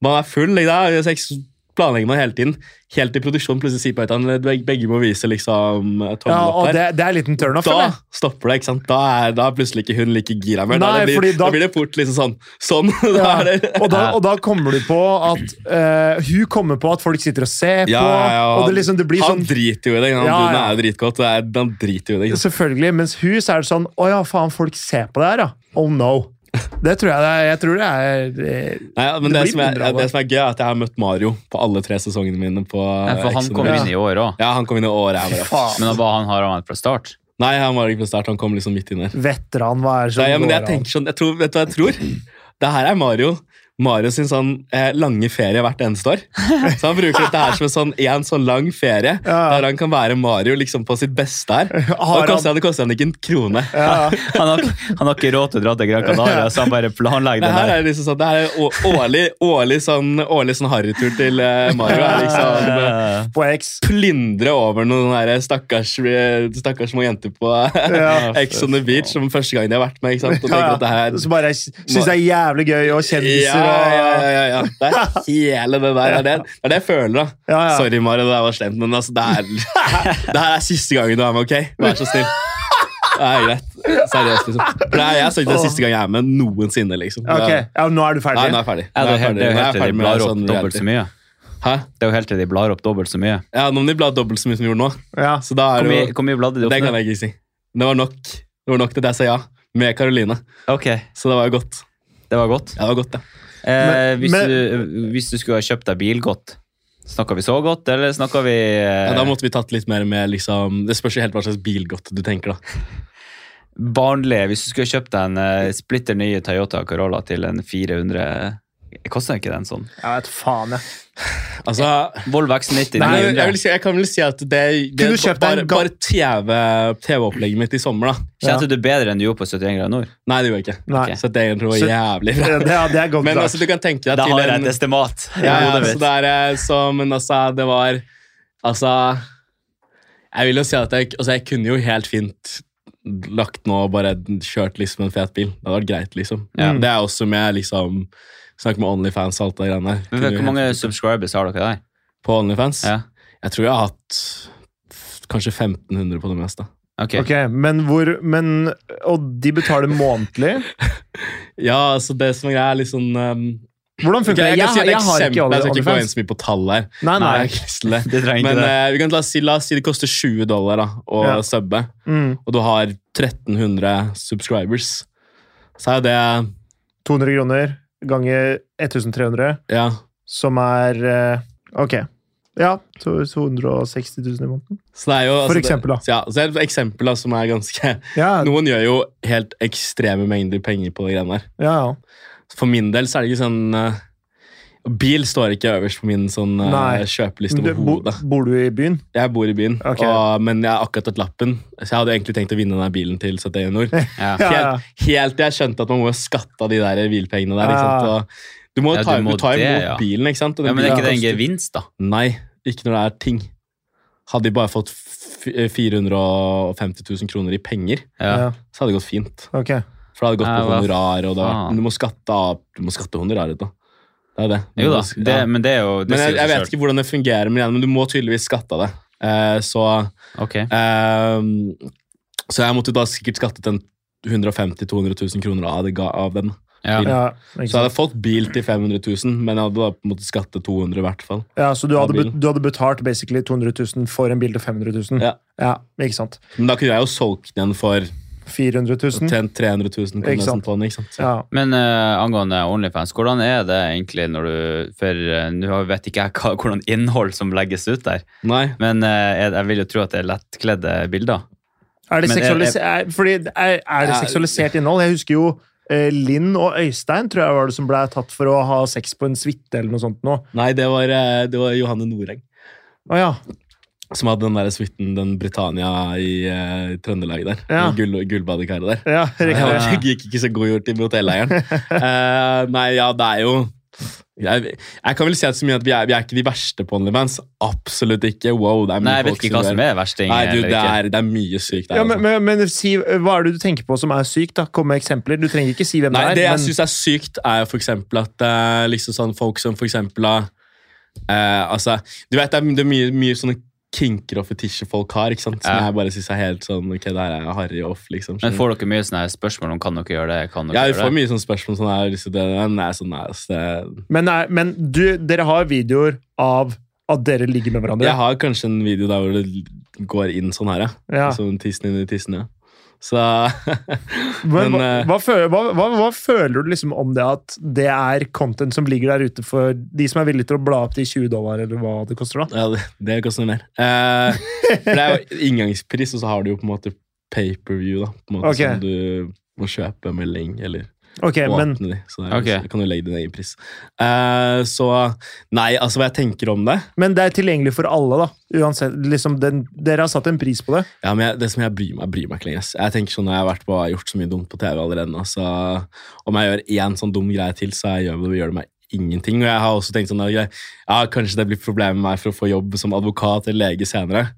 man er full, ikke da? Gjør Sex planlegger man hele tiden. Helt til produksjonen plutselig sier på et eller annet, beg- begge må vise liksom tommel Ja, opp og her. det, det er en liten turnoff, Da eller? stopper det, ikke sant? Da er, da er plutselig ikke hun like gira mer. Da, Nei, det blir, fordi da- da blir det fort liksom sånn. Sånn, da Ja. er det... Og, da, og da kommer du på at eh, Hun kommer på at folk sitter og ser på, Ja, ja, ja. og det, liksom, det blir han sånn driter jo i det. Han, Ja, ja. han er jo dritgodt. det er- Han driter jo i det. ikke sant? Selvfølgelig, mens hus er det sånn Å ja, faen, folk ser på det her, ja. Oh no. Det tror jeg det er. Jeg tror det er eh, Nei, ja, men Det det, blir som er, mindre av det. det som er gøy, er at jeg har møtt Mario på alle tre sesongene mine. på Nei, For han Exxon. kommer inn i år òg. Ja, han kom inn i året. Jeg bare, faen. Men da var han har han vært fra start? Nei, han var ikke fra start. Han kom liksom midt inn her. Veteran, hva er det som Nei, ja, men jeg går an? tenker sånn, jeg tror, Vet du hva jeg tror? Det her er Mario Mario sin sånn eh, lange ferie hvert eneste år. Så han bruker dette her som en sånn, en sånn lang ferie, Ja. der han kan være Mario liksom på sitt beste her. Og Har det koster han, han, det koster han ikke en krone. ja. Han har, ikke- han har ikke råd til å dra til Gran Canaria, så han bare planlegger Det her det der. er liksom sånn, det her er å- årlig, årlig sånn, årlig sånn harrytur til eh, Mario. Er liksom, eh, Eh, På X. plindre over noen sånne der stakkars, eh, stakkars små jenter på Ja. Ex on the Beach som første gang de har vært med. ikke sant? Og tenker at det her... Som bare syns det er jævlig gøy, og Ja, kjendiser ja, og ja, ja, ja. Det er hele det der. Det er det, det, er det jeg føler, da. Ja, ja. Sorry, Mari, det der var slemt, men altså, det, er, det her er siste gangen du er med, OK? Vær så snill. Det er greit. Seriøst, liksom. For det er, jeg sa ikke det er siste gang jeg er med noensinne, liksom. Ok, ja, nå er du Nei, ferdig? nå er jeg ferdig. ja, Det er Nå jeg jo helt- ferdig. det er jo helt til de Nå ferdig med blar opp sånn dobbelt så reality. mye. Hæ? Det er jo helt til de blar opp dobbelt så mye. Ja, nå må de bla dobbelt så mye som de gjorde nå. Ja. Så da Hvor er det mye, jo hvor mye bladde de opp Det kan nå? jeg ikke si. Det var nok Det var nok til at jeg sa ja. Med Karoline. Ok, Så det var jo godt. det var godt. Ja, det var godt, ja. Eh, Men- hvis, men- du, hvis du skulle ha kjøpt deg bil godt, snakka vi så godt, eller snakka vi eh, ja. Da måtte vi tatt litt mer med liksom Det spørs jo helt hva slags bilgodt du tenker, da. barnlig? Hvis du skulle ha kjøpt deg en eh, splitter nye Toyota Corolla til en 400 Koster ikke den sånn? Jeg vet faen, jeg. Altså Eh, Volvo X90 Nei, jeg, 900. vil si, jeg kan vel si at det, det Kunne du kjøpt deg Bare, en ga- bare TV TV-opplegget mitt i sommer, da. Kjente du bedre enn du gjorde på 71 grader nord? Nei, det gjorde jeg ikke. Nei. Ok. Så det egentlig var Så- jævlig bra. Det, ja, det er godt Men sagt. altså, du kan tenke deg Da til har jeg en et estimat. i Ja, hodet ja, så mitt. det er eh, så, Men altså, det var Altså Jeg vil jo si at jeg, altså, jeg kunne jo helt fint lagt nå og bare kjørt liksom en fet bil. Det hadde vært greit, liksom. Ja. Det er også med liksom Snakk med Onlyfans og alt det greiene der. Men Kunne jo Hvor mange helt- subscribers har dere der? På Onlyfans? Ja, Jeg tror jeg har hatt f- kanskje 1500 på det meste. ok. Ok, men hvor men, Og de betaler månedlig? Ja, altså, det som er greia, er litt sånn um, Hvordan ok, funker det? Jeg Jeg, kan si har- et jeg har ikke eksempel. Jeg skal ikke gå inn OnlyFans. så mye på tall her. Nei, Nei, nei. jeg har ikke lyst til det. Det trenger ikke Men det. eh, vi kan la oss si, la oss si det koster 20 dollar da, å Ja. subbe. Mm. og du har 1300 subscribers, så er det 200 kroner ganger 1300, ja, som er eh, Ok. Ja, to- 260 000 i måneden. så det er jo, For eksempel, da. Det, ja, så er det et eksempel da, som er ganske Ja, ja. Noen gjør jo helt ekstreme mengder penger på de greiene der. ja. For min del så er det ikke sånn eh, Bil står ikke øverst på min sånn eh, Nei. kjøpeliste Du, bo, overhodet. bor du i byen? Jeg bor i byen, Ok. og, men jeg har akkurat tatt lappen, så jeg hadde egentlig tenkt å vinne den der bilen til 71 Nord. Ja. Ja, ja. Helt, helt til jeg skjønte at man må jo skatte av de der bilpengene der. Ja. Ikke sant? Og du må Ja, jo ta, du må du tar det, imot ja. bilen, ikke sant? Og Ja, den men er bilen ikke det en koster- gevinst, da? Nei, ikke når det er ting. Hadde de bare fått eh, f- 450 000 kroner i penger, Ja, så hadde det gått fint. Ok. For det hadde gått Ja, på hva honorar, og det hadde, faen? vært- du må skatte av Du må skatte honoraret, da. Det er det. Du Jo da, må- det, ja. men det er jo det Men jeg, sier jeg seg vet ikke hvordan det fungerer, men, igjen, men du må tydeligvis skatte av det. Eh, så, selv. Ok. eh, så jeg måtte da sikkert skattet en 150 000-200 000 kroner av, det, ga- av den. Ja. Ja, ikke Så jeg sant. hadde fått bil til 500 000, men jeg hadde da måttet skatte 200 000 i hvert fall. ja, så du hadde, Ja, bilen. bet- du hadde betalt basically 200 000 for en bil til 500 000? Ja. Ikke sant. Men da kunne jeg jo solgt den for 400 000? tjent 300 000 på Ikke nesten sant? på den, ikke sant? Ja. Men eh, angående Onlyfans, hvordan er det egentlig når du For eh, nå har- vet ikke jeg hva, hvordan innhold som legges ut der, Nei. men eh, jeg, jeg vil jo tro at det er lettkledde bilder. Er det, Men er- seksualis er, fordi det er, er det eh, Ja. seksualisert innhold? Jeg husker jo eh, Linn og Øystein tror jeg var det som ble tatt for å ha sex på en suite eller noe sånt. Nå. Nei, det var, eh, det var Johanne Noreng Å ja. som hadde den der suiten, den Britannia i eh, Trøndelag der. Ja. med Gull, gullbadekaret der. ja riktig. Det Ja. var- gikk ikke så god gjort til motelleieren. Eh, nei, ja, det er jo jeg, jeg kan vel si at, så mye at vi, er, vi er ikke de verste på OnlyFans. Absolutt ikke. Wow, det er mye Nei, jeg vet folk ikke hva som gjør- er versting. Nei, du, eller det ikke. er, det er mye sykt der. Ja, altså. men, men, men si, eh, hva er det du tenker på som er sykt? da? Kom med eksempler. Du trenger ikke si hvem Nei, det det er. jeg syns er sykt, er jo for eksempel at eh, liksom sånn folk som for eksempel har eh, Altså, du vet det er, det er mye, mye sånne kinker og fetisjer folk har, ikke sant? som Ja. jeg bare syns er helt sånn Ok, det her er harry off, liksom. Men skjønner får dere mye sånne her spørsmål om kan dere gjøre det? Kan du? dere ja, vi gjøre får det? mye sånne spørsmål sånn her, liksom, det, den er sånn, nei, ass, det, men er, men du, dere har videoer av at dere ligger med hverandre? Jeg har kanskje en video der hvor det går inn sånn her, ja. Ja. Sånn tissen inn i tissen, ja. Så Men, men, hva, eh, hva, føler, hva, hva, hva føler du liksom om det at det er content som ligger der ute for de som er villige til å bla opp de 20 dollar, eller hva det koster? da? Ja, det, det koster mer. Eh, for det er jo inngangspris, og så har du jo på en måte pay-per-view, da. På en måte Ok. Som du må kjøpe med link, eller Ok, og men Anthony, så det er, Ok. liksom- kan du legge din egen pris. Eh, så Nei, altså hva jeg tenker om det Men det er tilgjengelig for alle, da. Uansett, liksom den, dere har satt en pris på det. ja, men jeg, Det som jeg bryr meg, jeg bryr meg ikke lenger. ass. Jeg tenker sånn, når jeg har vært på, jeg har gjort så mye dumt på TV allerede nå, så om jeg gjør én sånn dum greie til, så jeg gjør, gjør det meg ingenting. Og jeg har også tenkt sånn, ok, ja, kanskje det blir problemer med meg for å få jobb som advokat eller lege senere.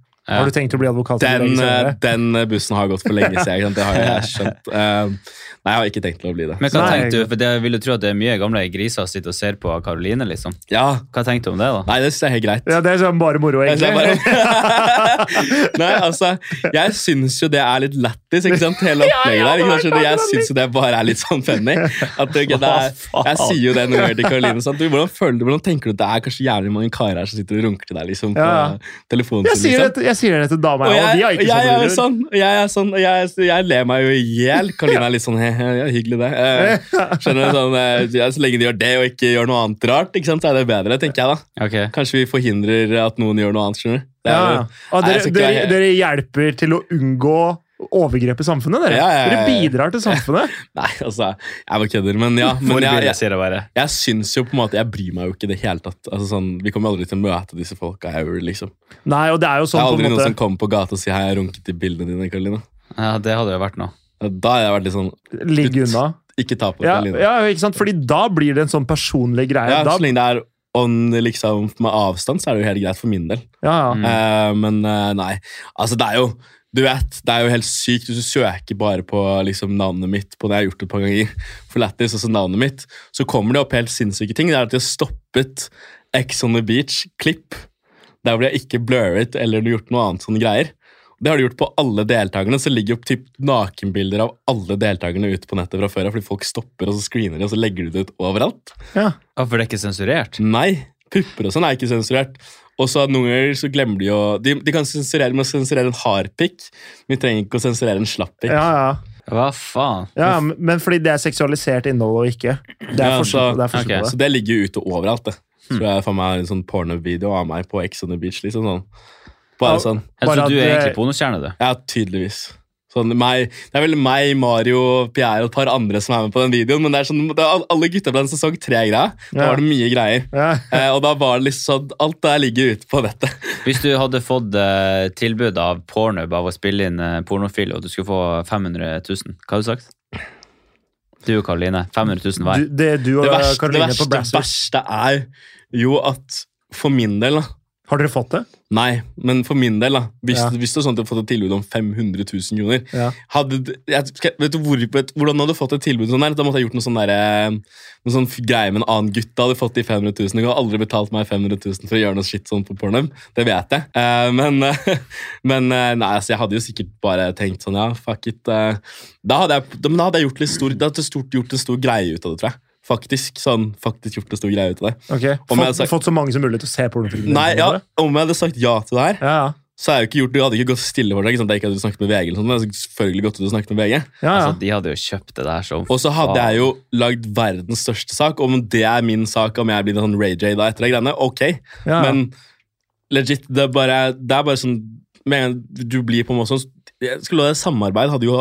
Har Ja. du tenkt å bli advokat? i dag Den, eh, senere? den bussen har gått for lenge siden. ikke sant? Det har jeg skjønt. Eh, nei, jeg har ikke tenkt til å bli det. Men hva Nei, tenkte jeg- du? For det, jeg vil jo tro at det er mye gamle griser som sitter og ser på Karoline, liksom. Ja, Hva tenkte du om det, da? Nei, det syns jeg er helt greit. Ja, det er sånn bare moro, Jeg egentlig. ser bare- Nei, altså, jeg syns jo det er litt lættis, ikke sant? Hele opplegget der. Ikke sant? Skjønner du? Jeg syns jo det bare er litt sånn funny. At det, det er, jeg sier jo det noen ganger til Karoline. Sant? Du, hvordan føler du, hvordan tenker du at det er kanskje jævlig mange karer her som sitter og runker til deg liksom, på Ja, ja. telefonen? Jeg sin, sier, liksom? det, jeg sier det til dama, Og og, jeg, de har og ikke jeg er jo sånn. sånn, og jeg er sånn, og jeg, jeg ler meg jo i hjel. Karoline er litt sånn he, he, ja, hyggelig, det. Eh, Skjønner du? Sånn, eh, ja, så lenge de gjør det og ikke gjør noe annet rart, ikke sant, så er det bedre, tenker jeg da. Ok. Kanskje vi forhindrer at noen gjør noe annet, skjønner du? Det Ja. er jo- ja. Og Nei, jeg dere, skal ikke dere, være- dere hjelper til å unngå overgrep i samfunnet, dere. Ja, ja, ja, ja. Dere bidrar til samfunnet. Nei, altså, jeg bare kødder, men ja. Men jeg, jeg, sier jeg bare. jeg syns jo på en måte Jeg bryr meg jo ikke i det hele tatt. Altså, sånn, vi kommer aldri til å møte disse folka ever, liksom. Nei, og det er jo Det sånn er på aldri en noen som måte kommer på gata og sier 'hei, jeg runket i bildene dine', Karoline. Ja, det hadde jo vært noe. Da har jeg vært litt sånn Ligg unna. Ikke ta på det, Ja, Karoline. ja, ikke sant? Fordi da blir det en sånn personlig greie. Ja, Da, så lenge Eh, det er on, liksom, med avstand, så er det jo helt greit for min del. ja, ja. Eh, men eh, nei, altså det er jo du vet, Det er jo helt sykt hvis du søker bare på liksom, navnet mitt. på det jeg har gjort det et par ganger, for lættis, altså navnet mitt, Så kommer det opp helt sinnssyke ting. Det er at de har stoppet Ex on the Beach-klipp. Der hvor de har ikke blurret eller gjort noe annet sånne greier. Det har de gjort på alle deltakerne. Så ligger jo typ nakenbilder av alle deltakerne ute på nettet fra før av, fordi folk stopper og så screener de, og så legger de det ut overalt. ja. Ja, for det er ikke sensurert? Nei, pupper og sånn er ikke sensurert. Og så noen ganger så glemmer de å De, de kan sensurere med å sensurere en hardpikk, men de trenger ikke å sensurere en slapppikk. ja, ja. Hva faen? ja, men- men fordi det er seksualisert innhold og ikke. Det er Ja, forskjell så- det er forskjell ok, på det. Så det ligger jo ute overalt, det. Hmm. Tror jeg faen meg har en sånn pornovideo av meg på Ex on the Beach. liksom sånn. Bare Ja. sånn. Jeg Bare tror du at er det- egentlig pornostjerne, du. Ja, tydeligvis. Sånn, meg, det er vel meg, Mario, Pierre og et par andre som er med på den videoen, men det er sånn, det er al- alle gutta på den sesong tre-greia. Da Ja. var det mye greier. Ja. Eh, og da var det liksom sånn, Alt der ligger ute på nettet. Hvis du hadde fått eh, tilbud av Pornhub av å spille inn eh, pornofil, og du skulle få 500 000, hva hadde du sagt? Du og Karoline, 500 000 hver. Du, det er du og det verste, det Karoline på verste, Brassers. verste er jo at for min del, da Har dere fått det? Nei, men for min del, da hvis, Ja. hvis det er sånn at du har fått et tilbud om 500 000 kroner Ja. hadde, du- jeg, skal- Vet du hvor, vet, du hvordan hadde du fått et tilbud sånn der? Da måtte jeg gjort noe sånn der, eh, noe sånn f- greie med en annen gutt. Da hadde jeg fått de 500 000. Jeg hadde aldri betalt meg 500 000 for å gjøre noe shit sånn på Pornhub. Det vet jeg. Eh, men eh, men eh, nei, altså, jeg hadde jo sikkert bare tenkt sånn, ja, fuck it. eh. da, hadde jeg, da, men da hadde jeg gjort, litt stor, da hadde jeg stort, gjort en stor greie ut av det, tror jeg. Faktisk, sånn, faktisk gjort en stor greie ut av det. Ok. Om jeg Fått, hadde sagt- fått så mange som mulig til å se pornofilmer? Nei, ja, Om jeg hadde sagt ja til det her, Ja, ja. så hadde jeg jo ikke gjort det. Jeg hadde ikke gått stille for deg. Ikke sant? Jeg ikke hadde snakket med VG eller sånt, men jeg hadde selvfølgelig gått ut og snakket med VG. ja, ja. Altså, de hadde jo kjøpt det der som Og så hadde jeg jo lagd verdens største sak. Om det er min sak, om jeg blir en sånn Ray J da etter de greiene, ok. ja. Men legit, det er bare, det er bare sånn med en gang Du blir på en måte sånn jeg skulle love deg, Samarbeid hadde jo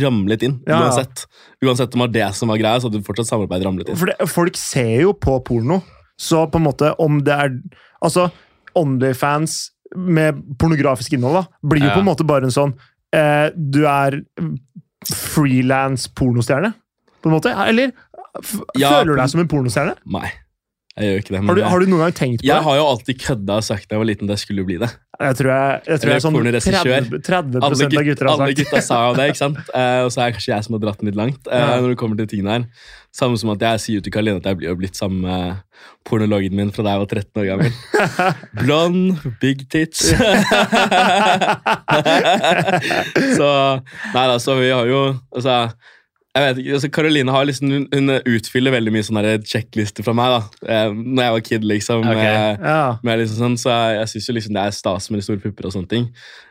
ramlet inn Ja, ja. uansett. Uansett om det var det som var greia, så hadde fortsatt samarbeid ramlet inn. For det, folk ser jo på porno, så på en måte om det er Altså, Onlyfans med pornografisk innhold da, blir jo Ja. på en måte bare en sånn eh, Du er frilans pornostjerne, på en måte? Eller f Ja, føler du deg som en pornostjerne? Nei, jeg gjør ikke det. men eh, Har du, har du noen gang tenkt på jeg det? har jo alltid kødda og sagt da jeg var liten at jeg skulle bli det. Jeg tror jeg, jeg, tror jeg er sånn Eller 30, pornoregissør. 30 alle, av gutter har alle sagt gutta sa jo det, ikke sant? Eh, og så er det kanskje jeg som har dratt den litt langt. eh, Ja. når det kommer til tingene her. Samme som at jeg sier jo til Karoline at jeg blir jo blitt sammen med pornologen min fra da jeg var 13 år gammel. Blond, big tits. så Nei da, så vi har jo altså, jeg vet ikke, altså Karoline har liksom, hun, hun utfyller veldig mye sånne her checklister fra meg. da eh, Når jeg var kid, liksom. Ok. eh, ja. men liksom sånn, så jeg, jeg syns jo liksom det er stas med de store pupper og sånne ting.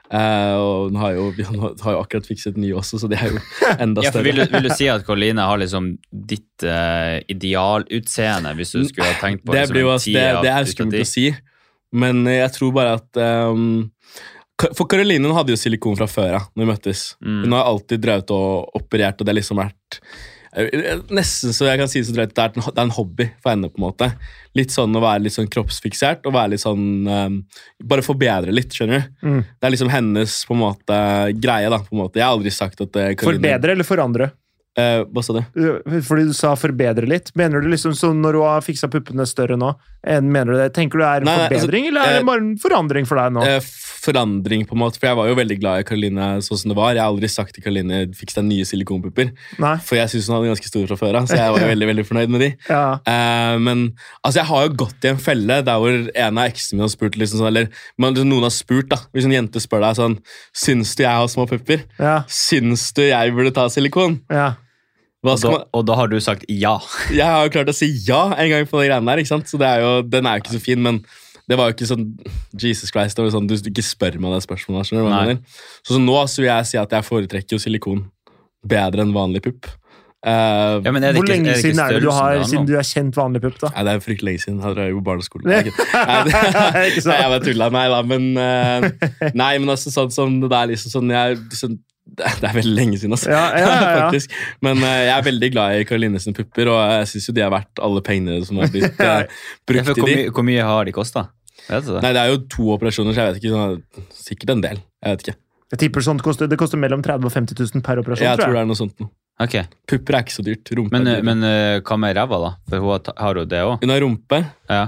Eh, og hun har jo, vi har, har jo akkurat fikset ny også, så det er jo enda ja, for vil, større. du, vil du si at Karoline har liksom ditt eh, idealutseende, hvis du skulle ha tenkt på det, liksom blir jo, en altså, det, tier av- det er ut av skummelt ti? å si, men eh, jeg tror bare at ehm, Ka- For Karoline hun hadde jo silikon fra før av, når vi møttes. Mm. Hun har alltid drevet og operert, og det har liksom vært jeg- jeg- Nesten så jeg kan si det så drøyt at det er en ho- det er en hobby for henne. på en måte. Litt sånn Å være litt sånn kroppsfiksert og være litt sånn ehm, Bare forbedre litt, skjønner du. Mm. Det er liksom hennes på en måte greie. da, på en måte. Jeg har aldri sagt at eh, Karoline- Forbedre eller forandre? Eh, hva sa du? Uh, Fordi du sa forbedre litt. Mener du liksom sånn når du har fiksa puppene større nå, enn mener du det? Tenker du det er en Nei, nei, altså, forbedring, eller er eh, det bare en forandring for deg nå? Eh, forandring, på en måte. For jeg var jo veldig glad i Karoline sånn som det var. Jeg har aldri sagt til Karoline fiks deg nye silikonpupper. Nei? For jeg syns hun hadde ganske store fra før av, så jeg var jo veldig, veldig fornøyd med de. Ja. Eh, men altså, jeg har jo gått i en felle der hvor en av eksene mine har spurt liksom, sånn, Eller men, liksom, noen har spurt, da. Hvis en jente spør deg sånn Syns du jeg har små pupper? Ja. Syns du jeg burde ta silikon? ja. Hva Og da, skal man? og da har du sagt ja. Jeg har jo klart å si ja en gang på de greiene der, ikke sant? så det er jo, den er jo ikke så fin. Men det var jo ikke sånn Jesus Christ, det var jo sånn, du ikke spør meg det spørsmålet. her, skjønner du hva jeg Nei. mener? Så, så nå så vil jeg si at jeg foretrekker jo silikon bedre enn vanlig pupp. Eh, ja men er det Hvor ikke, lenge er det ikke siden er det du størrelsen har, da, nå? siden du er kjent vanlig pupp, da? Nei, det er fryktelig lenge siden. Jeg drev jo barneskole. Nei, ikke- Nei, det- Ikke sant? Nei, jeg bare tulla. Nei da, men eh, Nei, men altså, sånn som det der liksom sånn jeg liksom, Det er det er veldig lenge siden, altså. Ja, ja, ja, ja. Faktisk. Men eh, jeg er veldig glad i Karoline sine pupper, og jeg syns jo de er verdt alle pengene som har blitt eh, Ja, for brukt i hvor, de. mye, hvor mye har de kosta? Vet du det? Nei, det er jo to operasjoner, så jeg vet ikke. Sånn, sikkert en del. Jeg vet ikke. Jeg tipper sånt koster, det koster mellom 30 000 og 50 000 per operasjon, Jeg tror tror det jeg. er noe sånt noe. Ok, Pupper er ikke så dyrt. Rumpe Men, er dyrt. men eh, hva med ræva, da? For hun har ta- har jo det òg. Hun har rumpe. Ja.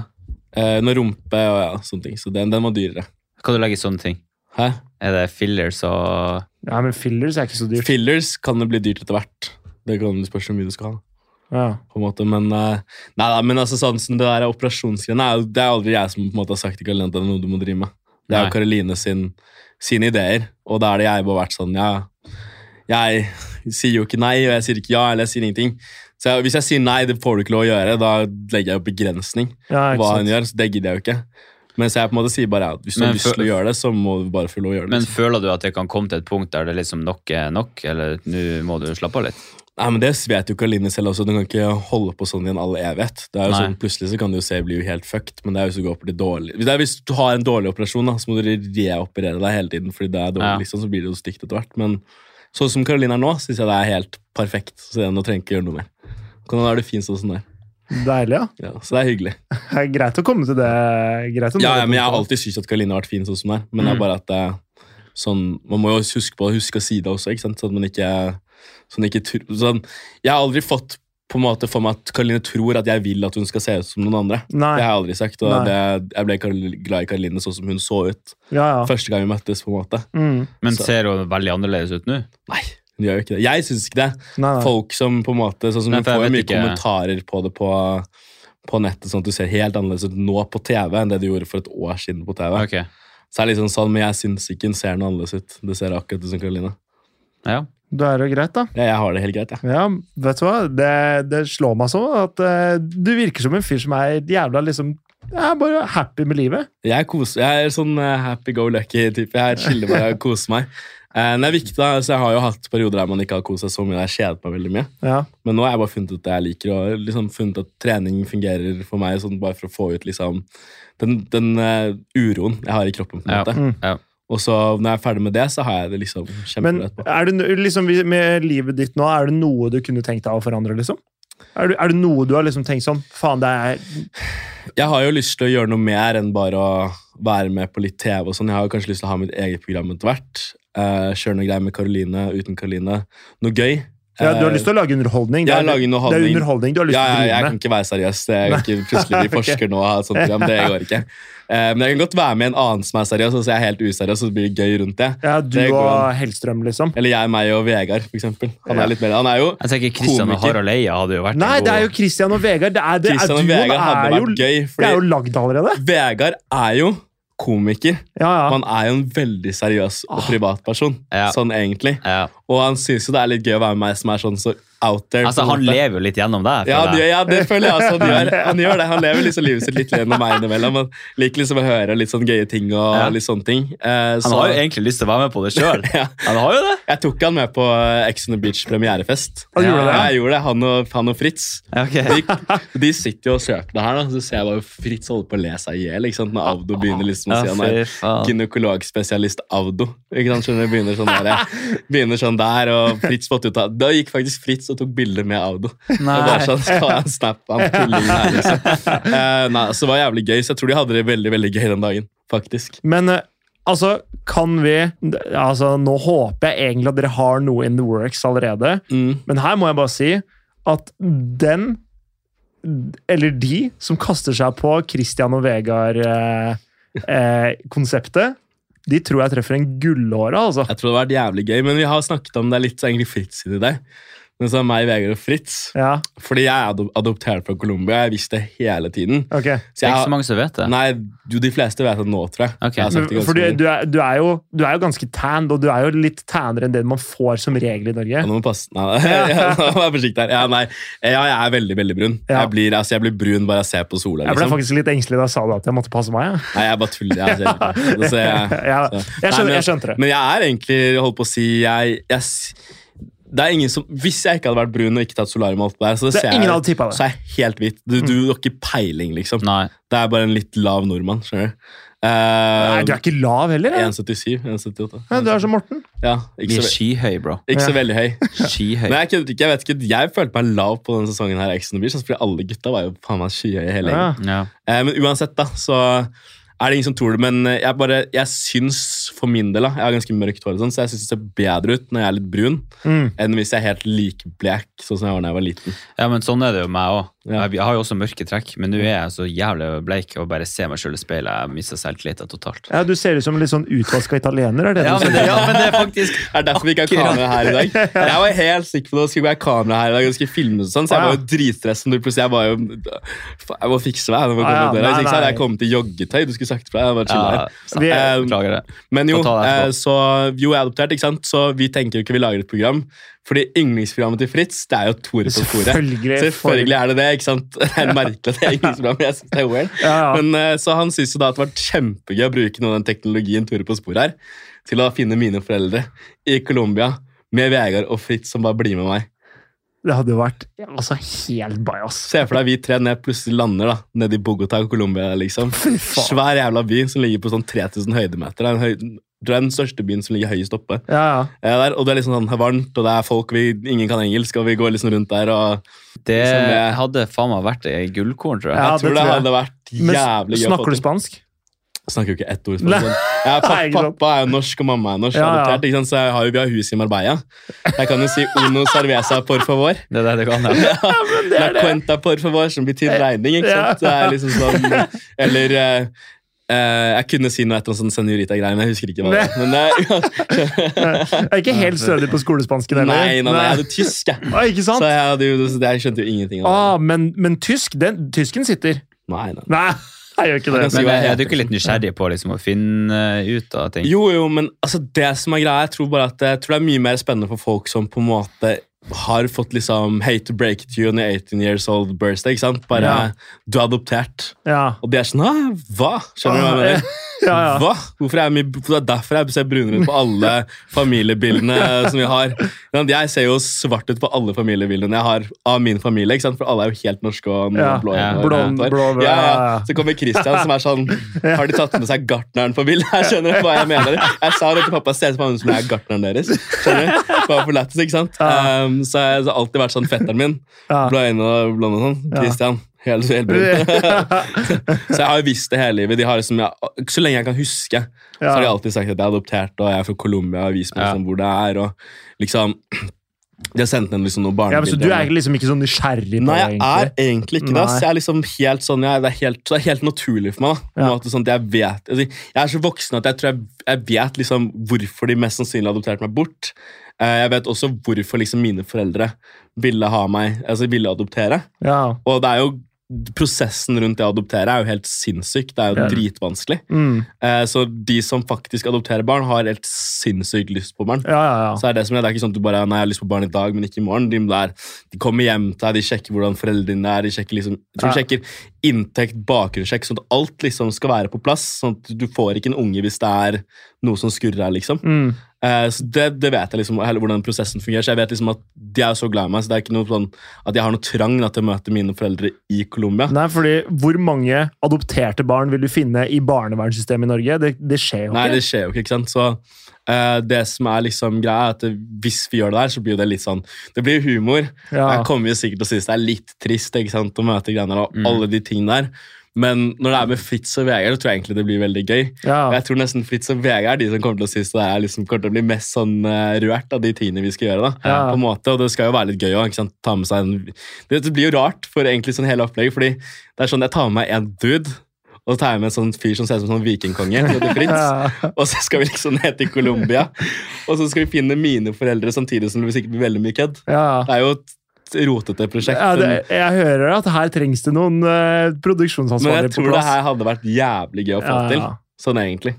eh, Hun har rumpe og ja, sånne ting. Så den, den var dyrere. Hva du legger i sånne ting? Hæ? Er det fillers og Ja, men fillers er ikke så dyrt. Fillers kan det bli dyrt etter hvert. Det kan spørs hvor mye du skal ha. Ja. på en måte, Men, eh, nei, da, men altså, sånn som det der operasjonsgreiene er jo- Det er aldri jeg som på en måte har sagt til Karoline at det er noe du må drive med. Det er Nei. jo Karoline sin, sine ideer, og da er det jeg bare har vært sånn ja, Jeg sier jo ikke nei, og jeg sier ikke ja, eller jeg sier ingenting. Så jeg, hvis jeg sier nei, det får du ikke lov å gjøre, da legger jeg jo begrensning ja på ikke hva hun sant? gjør. så det gidder jeg jo ikke. Mens jeg på en måte sier bare ja, hvis du har Men lyst til for- å gjøre det, så må du bare få lov å gjøre det. Men liksom. føler du at det kan komme til et punkt der det liksom nok er nok, eller nå må du slappe av litt? Nei, men Det vet jo Karoline selv også. Du kan ikke holde på sånn i en all evighet. Det er jo Nei. sånn, Plutselig så kan du jo se blir jo helt fucked, men det er hvis du går opp til dårlig det er Hvis du har en dårlig operasjon, da, så må du reoperere deg hele tiden, fordi det er dårlig, Ja. liksom, så blir det jo stygt etter hvert. Men sånn som Karoline er nå, syns jeg det er helt perfekt. Så det- nå trenger jeg ikke gjøre noe mer. Kan være det fint sånn som det er. Deilig, ja. Ja, så det er hyggelig. Det er greit å komme til det. Greit å nå Ja, ja, det men Jeg har punktet. alltid syntes at Karoline har vært fin sånn som hun er, men det Mm. er bare at det, er sånn, man må jo huske på å huske sida også, ikke sant? sånn at man ikke, sånn ikke tr- sånn, Jeg har aldri fått på en måte for meg at Karoline tror at jeg vil at hun skal se ut som noen andre. Nei. Det har jeg aldri sagt, og Nei. det, jeg ble Karol- glad i Karoline sånn som hun så ut Ja, ja. første gang vi møttes. på en måte. Mm. Men Så- ser hun veldig annerledes ut nå? Nei, hun gjør jo ikke det. Jeg syns ikke det. Nei, nei. Folk som på en måte, sånn som Nei, Hun for jeg får jo mye vet ikke- kommentarer på det på, på nettet, sånn at du ser helt annerledes ut nå på TV enn det du gjorde for et år siden på TV. Ok, Så er det litt sånn sånn, men jeg syns ikke hun ser noe annerledes ut. Det ser akkurat ut som Karoline. ja. Da er det jo greit, da. Ja, jeg har det helt greit, jeg. Ja, vet du hva? Det, det slår meg sånn at eh, du virker som en fyr som er jævla liksom Jeg er bare happy med livet. Jeg, koser, jeg er sånn eh, happy go lucky-type. Jeg chiller bare og koser meg. Eh, men det er viktig, da. Så jeg har jo hatt perioder der man ikke har kost seg så mye. og Jeg kjedet meg veldig mye. Ja, Men nå har jeg bare funnet ut det jeg liker, og liksom funnet at trening fungerer for meg sånn bare for å få ut liksom den, den eh, uroen jeg har i kroppen. på en Ja. måte. Mm. Ja. Og så når jeg er ferdig med det, så har jeg det liksom Men kjempebra etterpå. er det, no- liksom, vi- med livet ditt nå, er det noe du kunne tenkt deg å forandre, liksom? Er det, er det noe du har liksom tenkt sånn Faen, det er Jeg har jo lyst til å gjøre noe mer enn bare å være med på litt TV. og sånn. Jeg har jo kanskje lyst til å ha mitt eget program etter hvert. Eh, kjøre noe greier med Karoline, uten Karoline. Noe gøy. Eh, ja, Du har lyst til å lage underholdning? Det Jeg er, lager det er underholdning. underholdning du har lyst ja, ja, til å jeg drive kan med? ikke være seriøs. Jeg kan ikke plutselig bli forsker nå og ha et sånt program. Det går ikke. Eh, men jeg kan godt være med en annen som er seriøs, og så er jeg helt useriøs, og så blir det gøy rundt det. Ja, du Det går og an. Hellstrøm, liksom? Eller jeg, meg og Vegard, for eksempel. Han Ja. er litt mer, han er jo Jeg tenker Kristian og Komiker. Harald Eia hadde jo vært en Nei, det er jo god- Christian og Vegard. Det er, det er, Kristian og duoen Vegard er hadde jo, vært gøy, det er jo fordi lagd allerede. Vegard er jo komiker. Ja, ja. Han er jo en veldig seriøs og Ah. privatperson, Ja. sånn egentlig. ja. Og han syns jo det er litt gøy å være med meg som er sånn så out there. Altså, på en han måte. lever jo litt gjennom deg. ja, føler det, jeg. ja, det føler jeg også. Han gjør, han gjør det. Han lever liksom livet sitt litt gjennom meg innimellom. Han liker liksom å høre litt sånn gøye ting og Ja. litt sånne ting. Eh, Han så har jo egentlig lyst til å være med på det sjøl. Ja. Han har jo det. jeg tok han med på eh, Ex on the Beach premierefest. Han gjorde det, Ja, ja. jeg gjorde det. Han og, han og Fritz. Ja, ok. De, de sitter jo og ser på det her, da. så ser jeg bare Fritz holder på å le seg i hjel ikke sant, når Avdo begynner liksom å Ja, si han fy er faen. gynekologspesialist Avdo. Ikke sant, skjønner du? Begynner sånn der, begynner sånn der og Fritz måtte jo ta Da gikk faktisk Fritz og tok bilder med Audo. Og Nei. bare sånn, skal jeg en snap av tullingen her, liksom. Eh, nei, så det var jævlig gøy, så jeg tror de hadde det veldig, veldig gøy den dagen, faktisk. Men eh, altså, kan vi altså, Nå håper jeg egentlig at dere har noe in the works allerede. Mm. Men her må jeg bare si at den, eller de, som kaster seg på Christian og Vegard-konseptet, de tror jeg treffer en gullåre, altså. Jeg tror det hadde vært jævlig gøy, men vi har snakket om det litt så egentlig Fritz inni deg. Men så er meg, Vegard og Fritz. Ja, Fordi jeg er ado- adoptert fra Colombia. Jeg visste det hele tiden. ok. Det er Så jeg, ikke så har- mange som vet det. nei, jo, de fleste vet det nå, tror jeg. Ok. jeg har sagt det ganske For du, mange. du, er, du, er jo, du er jo ganske tanned, og du er jo litt tannere enn det man får som regel i Norge. Ja, nå må du passe. Nei, nei. Ja, nå må jeg være forsiktig her. Ja, nei. ja, jeg er veldig, veldig brun. Ja. Jeg, blir, altså, jeg blir brun bare jeg ser på sola. Jeg ble Liksom. faktisk litt engstelig da jeg sa det at jeg måtte passe meg. jeg. Nei, jeg bare tuller. Jeg, ser ikke. Så ser jeg. Ja, jeg, skjønte, jeg skjønte det. Men jeg er egentlig, holdt på å si jeg, jeg, s- det er ingen som, Hvis jeg ikke hadde vært brun og ikke tatt solarium, og alt det der, så, det Det ser er ingen jeg, hadde tippa så det. Mm. er jeg helt hvit. Du, du har ikke peiling, liksom. Nei. Det er bare en litt lav nordmann. skjønner du? Eh, Nei, du er ikke lav heller. jeg. 1,77. 1,78. Ja, du er som Morten. Ja, Vi ikke er så, ve skyhøye, bro. ikke så veldig høy. Skyhøy. Men jeg, kødder ikke, jeg vet ikke, jeg følte meg lav på denne sesongen her, i Ex on the Beach, altså, fordi alle gutta var jo faen meg skyhøye hele Ja. gjengen. Ja. Eh, men uansett, da, så er det ingen som tror det. Men eh, jeg bare, jeg syns for min del, da, jeg har ganske mørkt hår, og sånn, så jeg syns det ser bedre ut når jeg er litt brun, Mm. enn hvis jeg er helt likblek, sånn som jeg var da jeg var liten. ja, men sånn er det jo meg òg. Ja. Jeg har jo også mørke trekk, men nå er jeg så jævlig bleik og bare ser meg sjøl i speilet. Jeg mister selvtilliten totalt. Ja, du ser ut som en litt sånn utvaska italiener. er det Ja du men, det, ja, men det er faktisk Det er derfor vi ikke har kamera her i dag. Jeg var helt sikker på at det skulle være kamera her i dag. og det skulle filmes og sånn, Så jeg var jo dritstressa når du plutselig jeg var jo, Faen, jeg må fikse meg. Jeg må komme Ja, ja, ut døra. Hvis nei, ikke så hadde nei. jeg kommet i joggetøy. Du skulle sagt fra. Jeg bare chillet ja, her. sant. Vi er- Eh, Beklager det. Men jo, Få ta deg eh, etterpå. så jo, jeg er adoptert, ikke sant? så vi tenker jo ikke vi lager et program. Fordi yndlingsprogrammet til Fritz, det er jo Tore på sporet. Selvfølgelig. Selvfølgelig er det det. ikke sant? Det er merkelig at det er yndlingsprogrammet. jeg synes det er weird. Ja, ja. Men eh, Så han syntes jo da at det var kjempegøy å bruke noe av den teknologien Tore på sporet her, til å finne mine foreldre i Colombia med Vegard og Fritz som bare blir med meg. Det hadde jo vært altså, helt bajas. Se for deg vi tre ned plutselig lander da, nede i Bogotá og Colombia. Liksom. faen. Svær jævla by som ligger på sånn 3000 høydemeter. Det er en høy, det er den største byen som ligger høyest oppe. Ja, ja. Eh, Der, og det er liksom sånn varmt, og det er folk vi, Ingen kan engelsk, og vi går liksom rundt der. Og Det Som jeg- hadde faen meg vært ei gullkorn, tror jeg. Ja, det jeg tror det, tror jeg. hadde vært Men jævlig gøy. å få snakker til. du spansk? Snakker jo ikke ett ord Nei. spansk. Ja, pa Nei, ikke sant. pappa er jo norsk, og mamma er norsk. Ja, ja. Adoptert, ikke sant? Så jeg har jo, vi har hus i Marbella. Jeg kan jo si 'uno cerveza, por favor'. Det er det det kan være. La cuenta, por favor, som betyr regning. ikke Ja. sant? Det er liksom sånn, Eller eh, eh, Jeg kunne si noe etter noe sånn senorita-greier, men jeg husker ikke hva det var. Men det, Jeg er ikke helt stødig på skolespansken heller. nei, nei, nei, jeg hadde tysk, jeg. Ah, ikke Så sant? jeg, hadde jo, så jeg skjønte jo ingenting av det. Ah, men, men tysk, den, tysken sitter. Nei, nei. Nei, jeg gjør ikke det. Men er du ikke litt nysgjerrig på liksom, å finne ut av ting? Jo, jo, men altså, det som er greia, jeg tror bare at jeg tror det er mye mer spennende for folk som på en måte har fått liksom hate to break it to you on your 18 years old birthday. ikke sant? Bare Ja. du er adoptert. Ja. Og de er sånn Hæ, hva? Skjønner du hva jeg mener? Ja, ja. Hva? Hvorfor er jeg mye, det er derfor jeg ser brunere ut på alle familiebildene som vi har. Men Jeg ser jo svart ut på alle familiebildene jeg har av min familie, ikke sant? for alle er jo helt norske og noen Ja. blå. Ja. og Blond, blått hår. blå, blå, ja, ja. ja, ja. Så kommer Christian som er sånn Har de tatt med seg gartneren på bildet? Jeg skjønner du hva jeg mener. Jeg sa det til pappa, ser ut som han som er gartneren deres. Skjønner du? Bare for lættis, ikke sant? Ja. Um, så jeg har alltid vært sånn fetteren min. Ja. Blå øyne og blond og sånn. Ja. Christian. Helt, helt brun. Så jeg har jo visst det hele livet. De har liksom, jeg, så lenge jeg kan huske, så har de Ja. alltid sagt at jeg er adoptert, og jeg er fra Colombia, og vis meg Ja. liksom hvor det er, og liksom De har sendt ned liksom noen Ja, men så barnebilder. du er liksom ikke så nysgjerrig på Nei, det, jeg er egentlig? egentlig ikke det. ass. Nei. Jeg er liksom helt sånn, jeg, det, er helt, så det er helt naturlig for meg. da. På en Ja. måte sånn at Jeg vet, altså, jeg er så voksen at jeg tror jeg, jeg vet liksom hvorfor de mest sannsynlig adopterte meg bort. Eh, Jeg vet også hvorfor liksom mine foreldre ville ha meg, altså ville adoptere. Ja. Og det er jo prosessen rundt det å adoptere er jo helt sinnssyk. Det er jo Ja. dritvanskelig. Mm. Eh, Så de som faktisk adopterer barn, har helt sinnssykt lyst på barn. ja, ja, ja. Så er Det som er, det er ikke sånn at du bare nei, jeg har lyst på barn i dag, men ikke i morgen. De, er, de kommer hjem til deg, de sjekker hvordan foreldrene er, de sjekker, liksom, jeg tror de Ja. sjekker inntekt, bakgrunnssjekk, sånn at alt liksom skal være på plass. sånn at Du får ikke en unge hvis det er noe som skurrer her. liksom. Mm. Eh, så det, det vet jeg liksom, hele hvordan prosessen fungerer. så jeg vet liksom at De er jo så glad i meg, så det er ikke noe sånn at jeg har noe trang da, til å møte mine foreldre i Colombia. Nei, fordi hvor mange adopterte barn vil du finne i barnevernssystemet i Norge? Det, det skjer jo Nei, ikke. det skjer jo ikke, ikke sant? Så, eh, Eh, det som er liksom greia, er at det- hvis vi gjør det der, så blir jo det litt sånn Det blir jo humor. Ja. Jeg kommer jo sikkert til å synes det er litt trist ikke sant, å møte greiene der og Mm. alle de tingene der. Men når det er med Fritz og Vegard, så tror jeg egentlig det blir veldig gøy. Og Ja. Jeg tror nesten Fritz og Vegard er de som kommer til å synes det er liksom, kommer til å bli mest sånn eh, rørt av de tingene vi skal gjøre. da, Ja. på en måte, Og det skal jo være litt gøy òg. ta med seg en Det det blir jo rart for egentlig sånn hele opplegget, fordi det er sånn jeg tar med meg en dude. Og så tar jeg med en sånn fyr som ser ut som en sånn vikingkonge. som heter Fritz, Ja. Og så skal vi liksom ned til Colombia, og så skal vi finne mine foreldre samtidig som det sikkert blir veldig mye kødd. Ja. Det er jo et rotete prosjekt. Ja, det, jeg hører at her trengs det noen eh, men jeg produksjonsansvarlige på tror det plass. her hadde vært jævlig gøy å få Ja, til. ja. Mm. Sånn egentlig.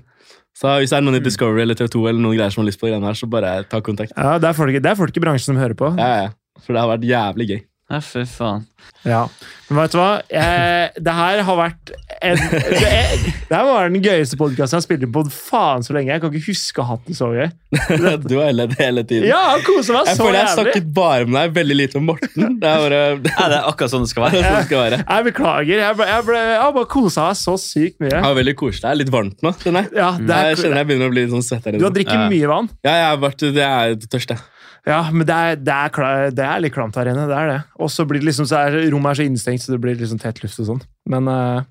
Så hvis det er noen i Discovery eller TV2 eller noen greier som har lyst på det greiene her, så bare ta kontakt. Ja, det, er folk, det er folk i bransjen som hører på. Ja, ja. For det har vært jævlig gøy. Ja, fy faen. Ja. Men vet du hva? Jeg, det her har vært en, det, er, det her var den gøyeste podkasten jeg har spilt inn på faen så lenge. Jeg kan ikke huske å ha hatt den så gøy. Du har ledd hele tiden. Ja, han koser meg jeg så føler jeg jævlig. snakket bare med deg, veldig lite om Morten. Det er bare det Ja, det er akkurat sånn det skal er være. sånn det skal være. Jeg beklager. Jeg, ble, jeg, ble, jeg har bare kosa meg så sykt Det mye. er veldig koselig. Det er litt varmt nå. kjenner jeg. Ja, det jeg er, kjenner jeg begynner å bli litt sånn svett her du har inne. drukket Ja. mye vann. Mm. Ja, jeg har vært jeg er tørst, jeg. Ja, men det er, det er, kla- det er litt klamt her inne. Det er det. Og så blir det liksom, så er rommet er så innestengt, så det blir liksom tett luft og sånn. Men eh,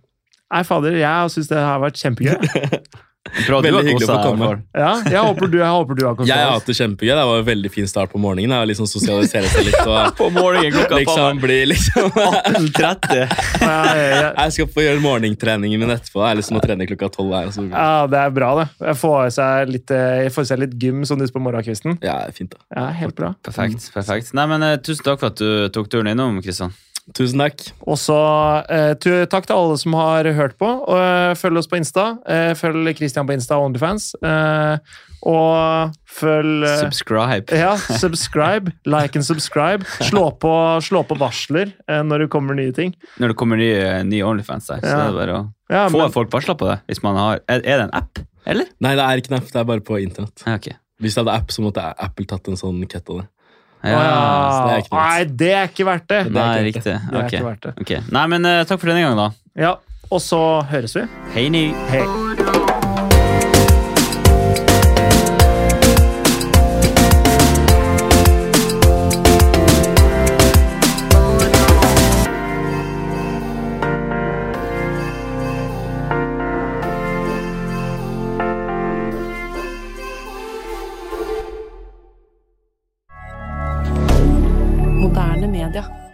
nei, fader, jeg syns det har vært kjempegøy. Bra, du har Veldig hyggelig å koset få deg, komme. Karl. Ja, jeg håper du, jeg håper du har Jeg har kontroll. hatt det kjempegøy. Det var en veldig fin start på morgenen. Jeg har liksom sosialisere seg litt og På morgenen klokka faen liksom bli liksom 18.30. Ja, ja, ja. Jeg skal få gjøre morgentreningen min etterpå. Jeg er liksom å trene klokka tolv her. og Så. Ja, det er bra, det. Jeg får i seg litt, eh, jeg får i seg litt gym sånn utpå morgenkvisten. Ja, fint da. Ja, helt bra. Perfekt. perfekt. Nei, men eh, Tusen takk for at du tok turen innom, Kristian. Tusen takk. Og så eh, tu- takk til alle som har hørt på. Og, eh, følg oss på Insta. Eh, følg Christian på Insta og Onlyfans. Eh, og følg eh, Subscribe. ja, subscribe. Like and subscribe. Slå på, slå på varsler eh, når det kommer nye ting. Når det kommer nye, nye Onlyfans der, så Ja. er det bare å Ja, Får men, folk varsla på det? Hvis man har, er, er det en app, eller? Nei, det er ikke en app. Det er bare på internett. Ja, ok. Hvis det hadde app, så måtte Apple tatt en sånn cut av det. Å ja. så det er ikke noe Nei, det er ikke verdt det. Nei, ikke riktig. Det er Ok. ikke verdt det. ok. Nei, men eh, takk for denne gangen, da. Ja, Og så høres vi. Hei ni. Hei. Moderne media.